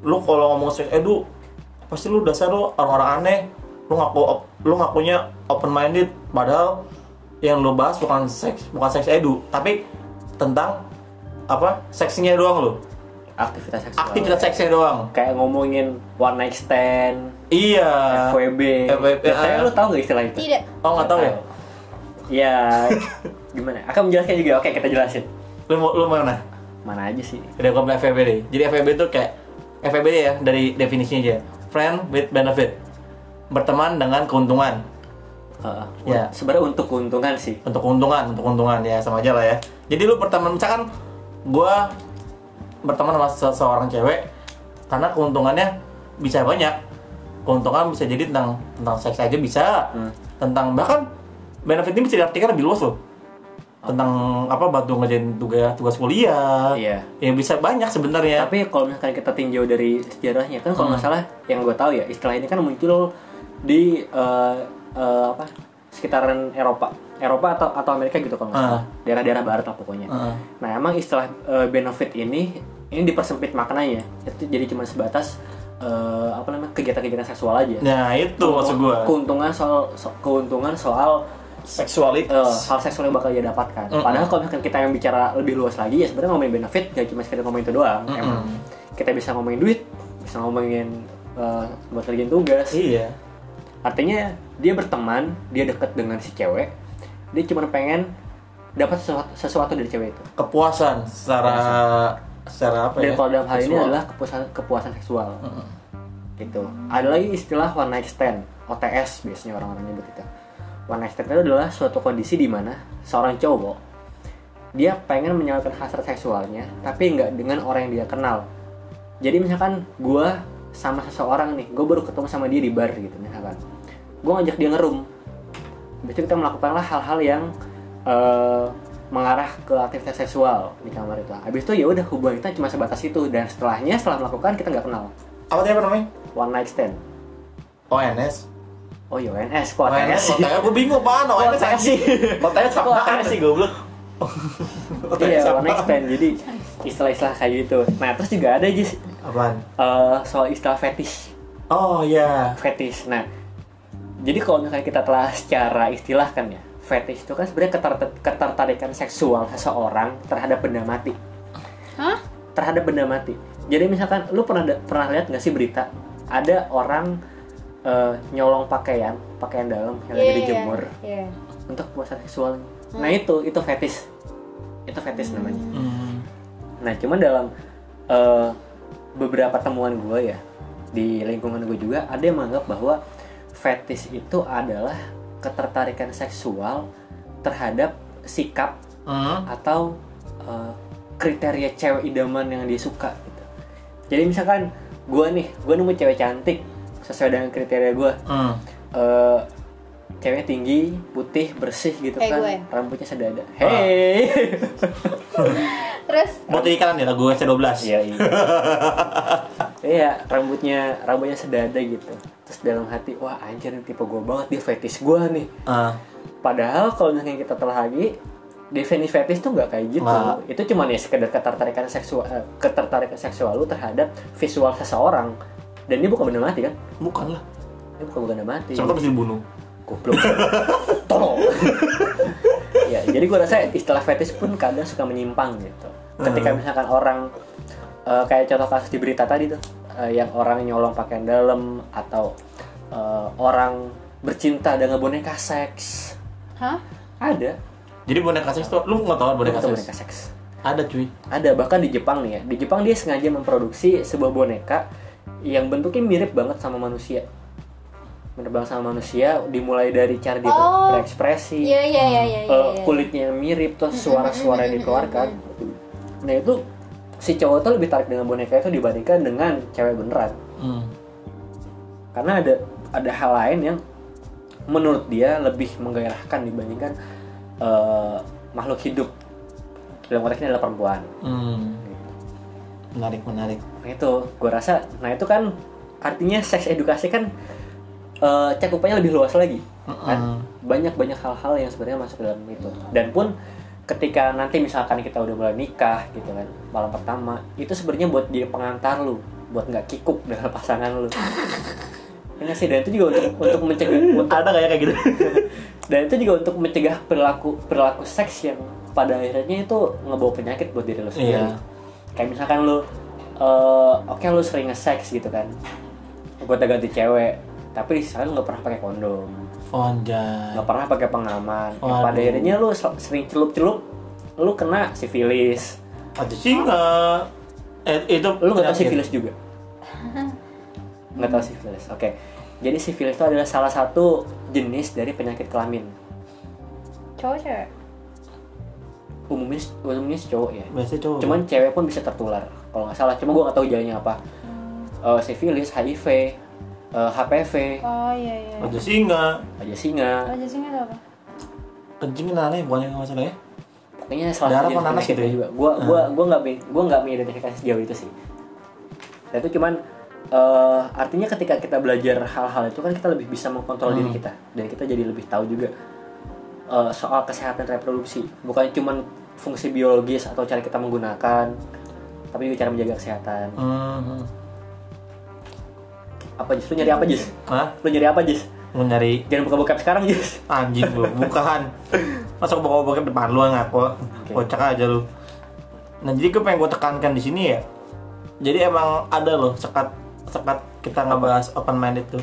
lu kalau ngomong seks edu pasti lu dasar lu orang-orang aneh lu ngaku op- lu ngakunya open minded padahal yang lu bahas bukan seks bukan seks edu tapi tentang apa seksinya doang lu aktivitas seksual aktivitas seksnya doang kayak ngomongin one night stand iya FWB. FWB, Nah, Saya ah. lu tahu nggak istilah itu? Tidak. oh nggak tahu ya Ya gimana? Akan menjelaskan juga. Oke, kita jelasin. lu mau lu mana Mana aja sih? Udah gue bilang FVB deh. Jadi FVB itu kayak FVB ya dari definisinya aja. Friend with benefit. Berteman dengan keuntungan. Heeh. Ya. Sebenarnya untuk keuntungan sih. Untuk keuntungan, untuk keuntungan ya sama aja lah ya. Jadi lu berteman misalkan gua berteman sama seseorang cewek karena keuntungannya bisa banyak. Keuntungan bisa jadi tentang tentang seks aja bisa. Hmm. Tentang bahkan benefit ini bisa diartikan lebih luas loh. Tentang apa bantu ngerjain tugas tugas kuliah. Iya. Ya bisa banyak sebenarnya. Tapi kalau misalkan kita tinjau dari sejarahnya kan Ya. kalau Hmm. nggak salah yang gue tahu ya istilah ini kan muncul di eh, eh, apa? sekitaran Eropa, Eropa atau atau Amerika gitu kalau nggak Ah. salah. Daerah-daerah barat lah pokoknya. Heeh. Nah, emang istilah eh, benefit ini ini dipersempit maknanya. ya. Itu jadi cuma sebatas eh, apa namanya? kegiatan-kegiatan seksual aja. Nah itu maksud gua. keuntungan soal so- keuntungan soal eh, seksualitas hal seksual yang bakal dia dapatkan. Mm-mm. Padahal kalau misalkan kita yang bicara lebih luas lagi ya sebenarnya ngomongin benefit gak cuma sekedar ngomongin itu doang. Mm-mm. Emang kita bisa ngomongin duit, bisa ngomongin eh, buat kerjaan tugas. iya Artinya dia berteman, dia deket dengan si cewek, dia cuma pengen dapat sesuatu, sesuatu dari cewek itu. kepuasan secara secara apa ya Dan kalau dalam hal ini Seksual. adalah kepuasan kepuasan seksual. Mm-mm. gitu ada lagi istilah one night stand OTS biasanya orang-orang nyebut itu one night stand itu adalah suatu kondisi di mana seorang cowok dia pengen menyalurkan hasrat seksualnya tapi nggak dengan orang yang dia kenal jadi misalkan gue sama seseorang nih gue baru ketemu sama dia di bar gitu misalkan gue ngajak dia ngerum Habis itu kita melakukanlah hal-hal yang eh, mengarah ke aktivitas seksual di kamar itu. Habis itu ya udah hubungan kita cuma sebatas itu dan setelahnya setelah melakukan kita nggak kenal apa tadi apa namanya one night stand. ONS Oh iya UNS, kok Makanya OTS sih? otaknya gue bingung apaan Kok Makanya OTS sih? Otaknya Kok sama OTS sih goblok? Iya, Sama. one expand. Jadi istilah-istilah kayak gitu. Nah, terus juga ada Jis Apaan? eh, soal istilah fetish. Oh iya Fetish. Nah, jadi kalau misalnya kita telah secara istilah kan ya, fetish itu kan sebenarnya ketart- ketertarikan seksual seseorang terhadap benda mati. Hah? terhadap benda mati. Jadi misalkan lu pernah pernah lihat nggak sih berita ada orang eh, nyolong pakaian pakaian dalam yang lagi Iya, dijemur Iya. untuk kepuasan seksual. Nah itu itu fetis itu fetis Hmm. namanya. Nah cuman dalam eh, beberapa temuan gue ya di lingkungan gue juga ada yang menganggap bahwa fetis itu adalah ketertarikan seksual terhadap sikap Hmm. atau uh, kriteria cewek idaman yang dia suka gitu. Jadi misalkan gue nih, gue nemu cewek cantik sesuai dengan kriteria gue. Hmm. Eh ceweknya tinggi, putih, bersih gitu Kayak kan, gue. rambutnya sedada. Hey. Terus Buat ini kanan ya lagu C12 Iya. iya. Iya, rambutnya rambutnya sedada gitu. Terus dalam hati, wah anjir ini tipe gue banget dia fetish gue nih. Ah. Padahal kalau misalnya kita telah lagi definisi fetish tuh nggak kayak gitu. Nah. Itu cuma ya sekedar ketertarikan seksual eh, ketertarikan seksual lu terhadap visual seseorang. Dan ini bukan benda mati kan? Bukan lah Ini bukan benda mati. Siapa tahu bisa dibunuh Goblok. Tolong. ya, jadi gua rasa istilah fetish pun kadang suka menyimpang gitu. Ketika Hmm. misalkan orang eh, kayak contoh kasus di berita tadi tuh eh, yang orang nyolong pakaian dalam atau eh, orang bercinta dengan boneka seks. Hah? Ada Jadi boneka seks tuh Lu gak tau boneka Atau seks? Ada cuy Ada bahkan di Jepang nih ya. Di Jepang dia sengaja memproduksi sebuah boneka yang bentuknya mirip banget sama manusia. Mirip banget sama manusia dimulai dari cara dia Oh. berekspresi, Iya iya iya iya. iya, eh, iya. kulitnya yang mirip terus suara-suara yang dikeluarkan. Nah, itu si cowok tuh lebih tarik dengan boneka itu dibandingkan dengan cewek beneran. Hmm. Karena ada ada hal lain yang menurut dia lebih menggairahkan dibandingkan eh, makhluk hidup. Dalam konteks ini adalah perempuan. Hmm. Menarik menarik Nah itu, gue rasa, nah itu kan artinya seks edukasi kan eh, cakupannya lebih luas lagi, Uh-uh. kan? Banyak-banyak hal-hal yang sebenarnya masuk dalam itu. Dan pun ketika nanti misalkan kita udah mulai nikah gitu kan, malam pertama, itu sebenarnya buat jadi pengantar lu, buat nggak kikuk dengan pasangan lu. Ya nggak sih, dan itu juga untuk, untuk mencegah, Kan? untuk- Ada ya kayak kayak gitu. dan itu juga untuk mencegah perilaku perilaku seks yang pada akhirnya itu ngebawa penyakit buat diri lo sendiri. Iya. Kayak misalkan lo, eh, oke lo sering nge-sex gitu kan, gue ganti cewek, tapi di sisi lain lo nggak pernah pakai kondom, Anjay nggak pernah pakai pengaman. Yang pada Waduh. akhirnya lo sel- sering celup-celup, lo kena sifilis, Ada singa Eh itu lu nggak tahu penyakit. sifilis juga nggak tahu sifilis oke jadi sifilis itu adalah salah satu jenis dari penyakit kelamin Cowok cewek. umumnya umumnya sih cowok ya Biasanya cowok cuman cewek pun bisa tertular kalau nggak salah cuma gue nggak tahu jalannya apa Eh, sifilis HIV eh, HPV Oh iya iya. Ada singa aja singa Oh jadinya itu apa? Kencing nane bukannya nggak masalah ya? kayaknya salah Darah satu jenis panas penyakitnya gitu ya? juga gua gua gua nggak mi- gua nggak mengidentifikasi sejauh itu sih dan itu cuman eh, artinya ketika kita belajar hal-hal itu kan kita lebih bisa mengkontrol diri Hmm. kita dan kita jadi lebih tahu juga eh, soal kesehatan reproduksi bukan cuman fungsi biologis atau cara kita menggunakan tapi juga cara menjaga kesehatan Hmm. apa jis lu nyari apa jis Hah? lu nyari apa jis Mau nyari jangan buka-buka sekarang jis anjing lu, bukaan. Masuk bawa bawa depan lu ngaku. Kocak aja lu. Nah, jadi gue pengen gue tekankan di sini ya. Jadi emang ada loh sekat sekat kita nggak bahas open minded tuh.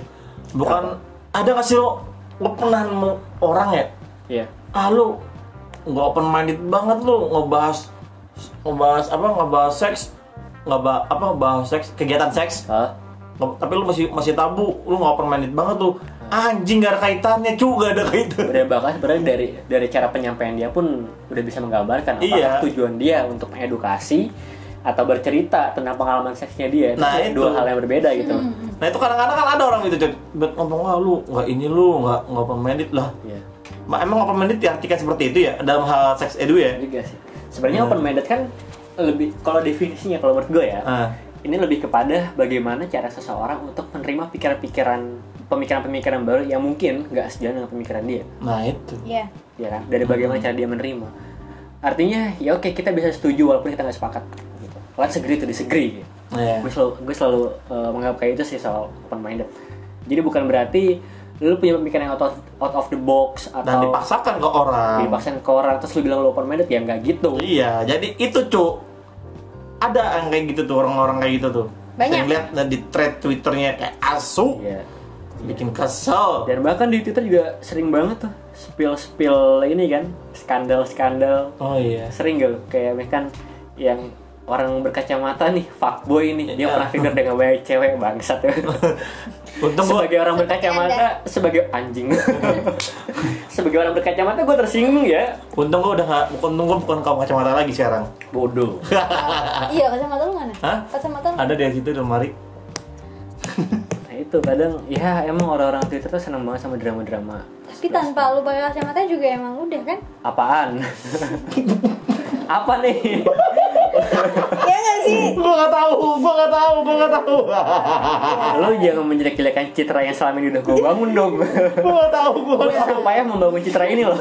Bukan ada nggak sih lo lo pernah nemu orang ya? iya Ah lu nggak open minded banget lu ngebahas ngebahas apa ngebahas seks nggak ba- apa ngebahas seks kegiatan seks Hah? Nggak- tapi lu masih masih tabu lu nggak open minded banget tuh anjing gak ada kaitannya juga ada kaitan udah bahkan sebenarnya dari dari cara penyampaian dia pun udah bisa menggambarkan apa Iya. tujuan dia untuk mengedukasi atau bercerita tentang pengalaman seksnya dia Itu Nah, dua itu. hal yang berbeda gitu nah itu kadang-kadang kan ada orang gitu Cot. Bet ngomong wah lu nggak ini lu nggak nggak open minded lah Iya. Ma, emang open minded diartikan seperti itu ya dalam hal seks edu ya juga sih sebenarnya open minded kan lebih kalau definisinya kalau menurut gue ya Ah. ini lebih kepada bagaimana cara seseorang untuk menerima pikiran-pikiran pemikiran-pemikiran baru yang mungkin nggak sejalan dengan pemikiran dia nah itu Iya. ya kan dari bagaimana Hmm. cara dia menerima artinya ya oke kita bisa setuju walaupun kita nggak sepakat gitu let's agree to disagree gitu. Iya. gue selalu gue selalu uh, menganggap kayak itu sih soal open minded jadi bukan berarti lu punya pemikiran yang out of, out of the box atau dan dipaksakan ke orang dipaksain ke orang terus lu bilang lu open minded ya nggak gitu iya jadi itu cu ada yang kayak gitu tuh orang-orang kayak gitu tuh Banyak. Saya lihat di thread twitternya kayak asu Iya. bikin kesel dan bahkan di twitter juga sering banget tuh spill spill ini kan skandal skandal oh iya sering gak lu? kayak misalkan yang orang berkacamata nih fuckboy nih dia Iya. pernah tidur dengan banyak cewek bangsat ya untung gua sebagai orang berkacamata sebagai anjing sebagai orang berkacamata gue tersinggung ya untung gua udah nggak untung gua bukan kaum kacamata lagi sekarang bodoh Iya, kacamata lu mana? Hah? Kacamata lu. ada di situ di lemari nah itu kadang ya emang orang-orang twitter tuh seneng banget sama drama-drama Tapi tanpa lu pakai kacamata juga emang udah kan? apaan apa nih Iya nggak sih? gua nggak tahu gua nggak tahu gua nggak tahu lo jangan menjelek-jelekan citra yang selama ini udah gue bangun dong gua nggak tahu gua gue nggak tahu supaya membangun citra ini loh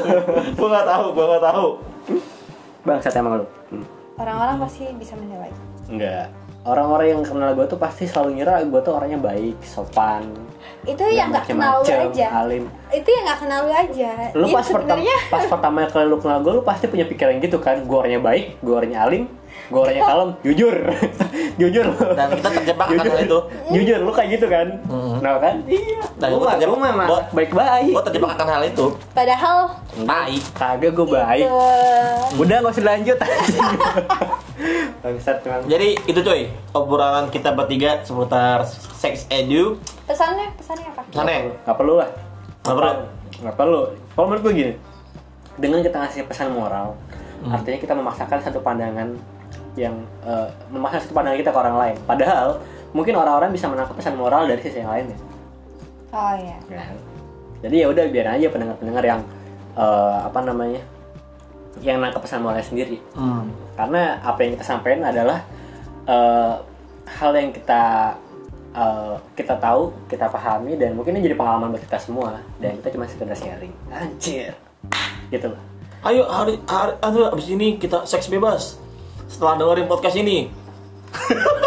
gua nggak tahu gua nggak tahu bangsat emang Hmm. lo Orang-orang pasti bisa menilai. Enggak. Orang-orang yang kenal gue tuh pasti selalu ngira gue tuh orangnya baik, sopan. Itu dan yang nggak kenal lu macem-macem, aja. Alim. Itu yang nggak kenal lu aja. Lu Itu pas, pertama sebenarnya pas pertama kali lu kenal gue, lu pasti punya pikiran gitu kan. Gue orangnya baik, gue orangnya alim, gue orangnya kalem. Jujur. Jujur. dan kita terjebak akan Jujur. hal itu Jujur, lu kayak gitu kan. Nah kan? Iya. Dan Gue gua mah- terjebak- gua memang gua- baik-baik. gua terjebak akan hal itu padahal baik Kagak Iya, gue baik. eh, Udah gak usah lanjut. Bangsat memang. Jadi itu coy, obrolan kita bertiga seputar sex edu. pesannya pesannya apa? Sana, Gak perlu lah. Nggak perlu. Nggak perlu. Kalau menurut gue gini, dengan kita ngasih pesan moral, Mm. artinya kita memaksakan satu pandangan yang eh, memaksakan satu pandangan kita ke orang lain. Padahal mungkin orang-orang bisa menangkap pesan moral dari sisi yang lain ya. Oh iya. Jadi ya udah biar aja pendengar-pendengar yang eh, apa namanya yang nangkap pesan moralnya sendiri. Hmm. Karena apa yang kita sampaikan adalah eh, hal yang kita eh, kita tahu, kita pahami dan mungkin ini jadi pengalaman buat kita semua dan kita cuma sekedar sharing. Anjir. Gitu loh. Ayo hari, hari aduh, abis ini kita seks bebas. Setelah dengerin podcast ini,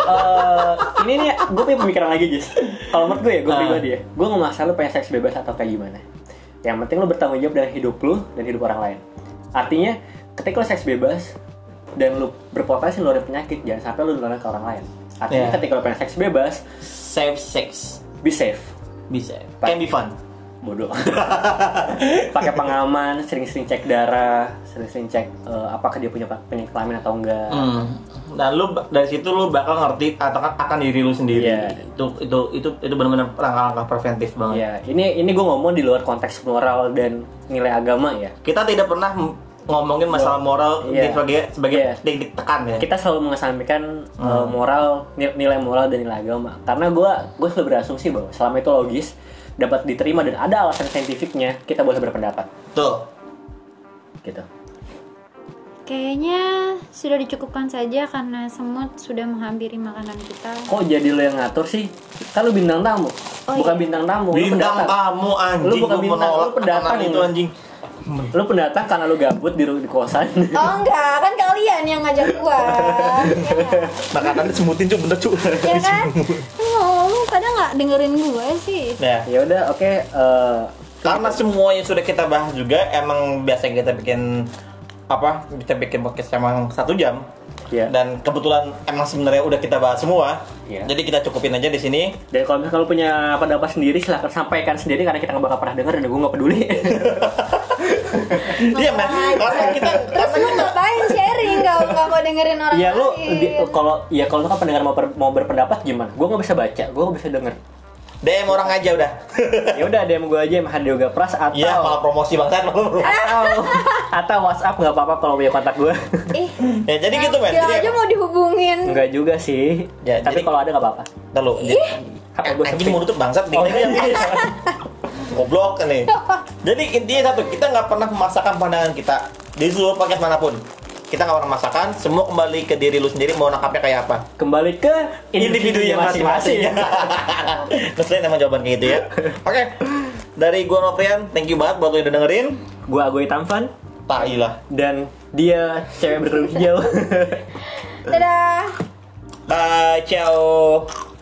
Eh, ini nih gue punya pemikiran lagi guys kalau menurut gue ya gue Ah. pribadi ya gue nggak masalah lu pengen seks bebas atau kayak gimana yang penting lu bertanggung jawab dengan hidup lu dan hidup orang lain artinya ketika lu seks bebas dan lu berpotensi nularin penyakit jangan sampai lu nularin ke orang lain artinya Yeah. ketika lu pengen seks bebas safe sex be safe bisa. Pak. Can be fun. bodoh pakai pengaman sering-sering cek darah sering-sering cek eh, apakah dia punya penyakit kelamin atau enggak Hmm. Dan lu ba- dari situ lu bakal ngerti atau akan diri lu sendiri. Iya. Itu itu itu itu benar-benar langkah-langkah preventif banget. Ya, ini ini gue ngomong di luar konteks moral dan nilai agama ya. Kita tidak pernah m- ngomongin masalah moral Iya. di- sebagai sebagai Iya. ditekan ya. kita selalu mengesampingkan uh, moral ni- nilai moral dan nilai agama karena gue gue selalu berasumsi bahwa selama itu logis dapat diterima dan ada alasan saintifiknya kita boleh berpendapat Tuh. gitu Kayaknya sudah dicukupkan saja karena semut sudah menghampiri makanan kita. kok jadi lo yang ngatur sih kan lo bintang tamu bukan bintang tamu lo Bintang pendatang. kamu anjing Lu bukan gua bintang, menolak lu pendatang. tekanan itu anjing. lo pendatang karena lo gabut di, ru- di kosan Oh enggak, kan kalian yang ngajak gua. Iya nggak? Makanannya semutin cu bener cu. Ya kan? Oh, lu kadang nggak dengerin gue sih. Nah, ya udah oke eh, karena semua yang sudah kita bahas juga emang biasanya kita bikin apa kita bikin podcast emang satu jam Iya. dan kebetulan emang sebenarnya udah kita bahas semua Iya. jadi kita cukupin aja di sini dan kalau misalnya lo punya pendapat sendiri silahkan sampaikan sendiri karena kita nggak bakal pernah denger dan gue nggak peduli iya men karena kita Terus lu ngapain sharing kalau nggak mau dengerin orang Ya lu lain? di- kalau ya kalau lu kan pendengar mau, per- mau berpendapat gimana? Gue nggak bisa baca, gue nggak bisa denger. DM orang aja udah Ya udah DM gue aja Mahan Yoga Pras atau iya malah promosi banget lu atau, atau WhatsApp nggak apa-apa kalau punya kontak gue. Ih, ya jadi gitu kira men Iya. jadi Iya, aja mau dihubungin. Nggak juga sih. Ya, Tapi jadi- kalau ada nggak apa-apa. Ntar lu, Apa Eh, gua anjing sepi? mulut tuh bangsat Oh, dikit lagi. goblok nih jadi intinya satu kita nggak pernah memaksakan pandangan kita di seluruh paket manapun kita nggak orang masakan semua kembali ke diri lu sendiri mau nangkapnya kayak apa Kembali ke individunya masing-masing. Ngeselin emang jawaban kayak gitu ya oke dari gua Novrian thank you banget buat lu yang udah dengerin Gua Agoy Tamfan tai lah dan dia cewek berkerudung hijau. Dadah. bye ciao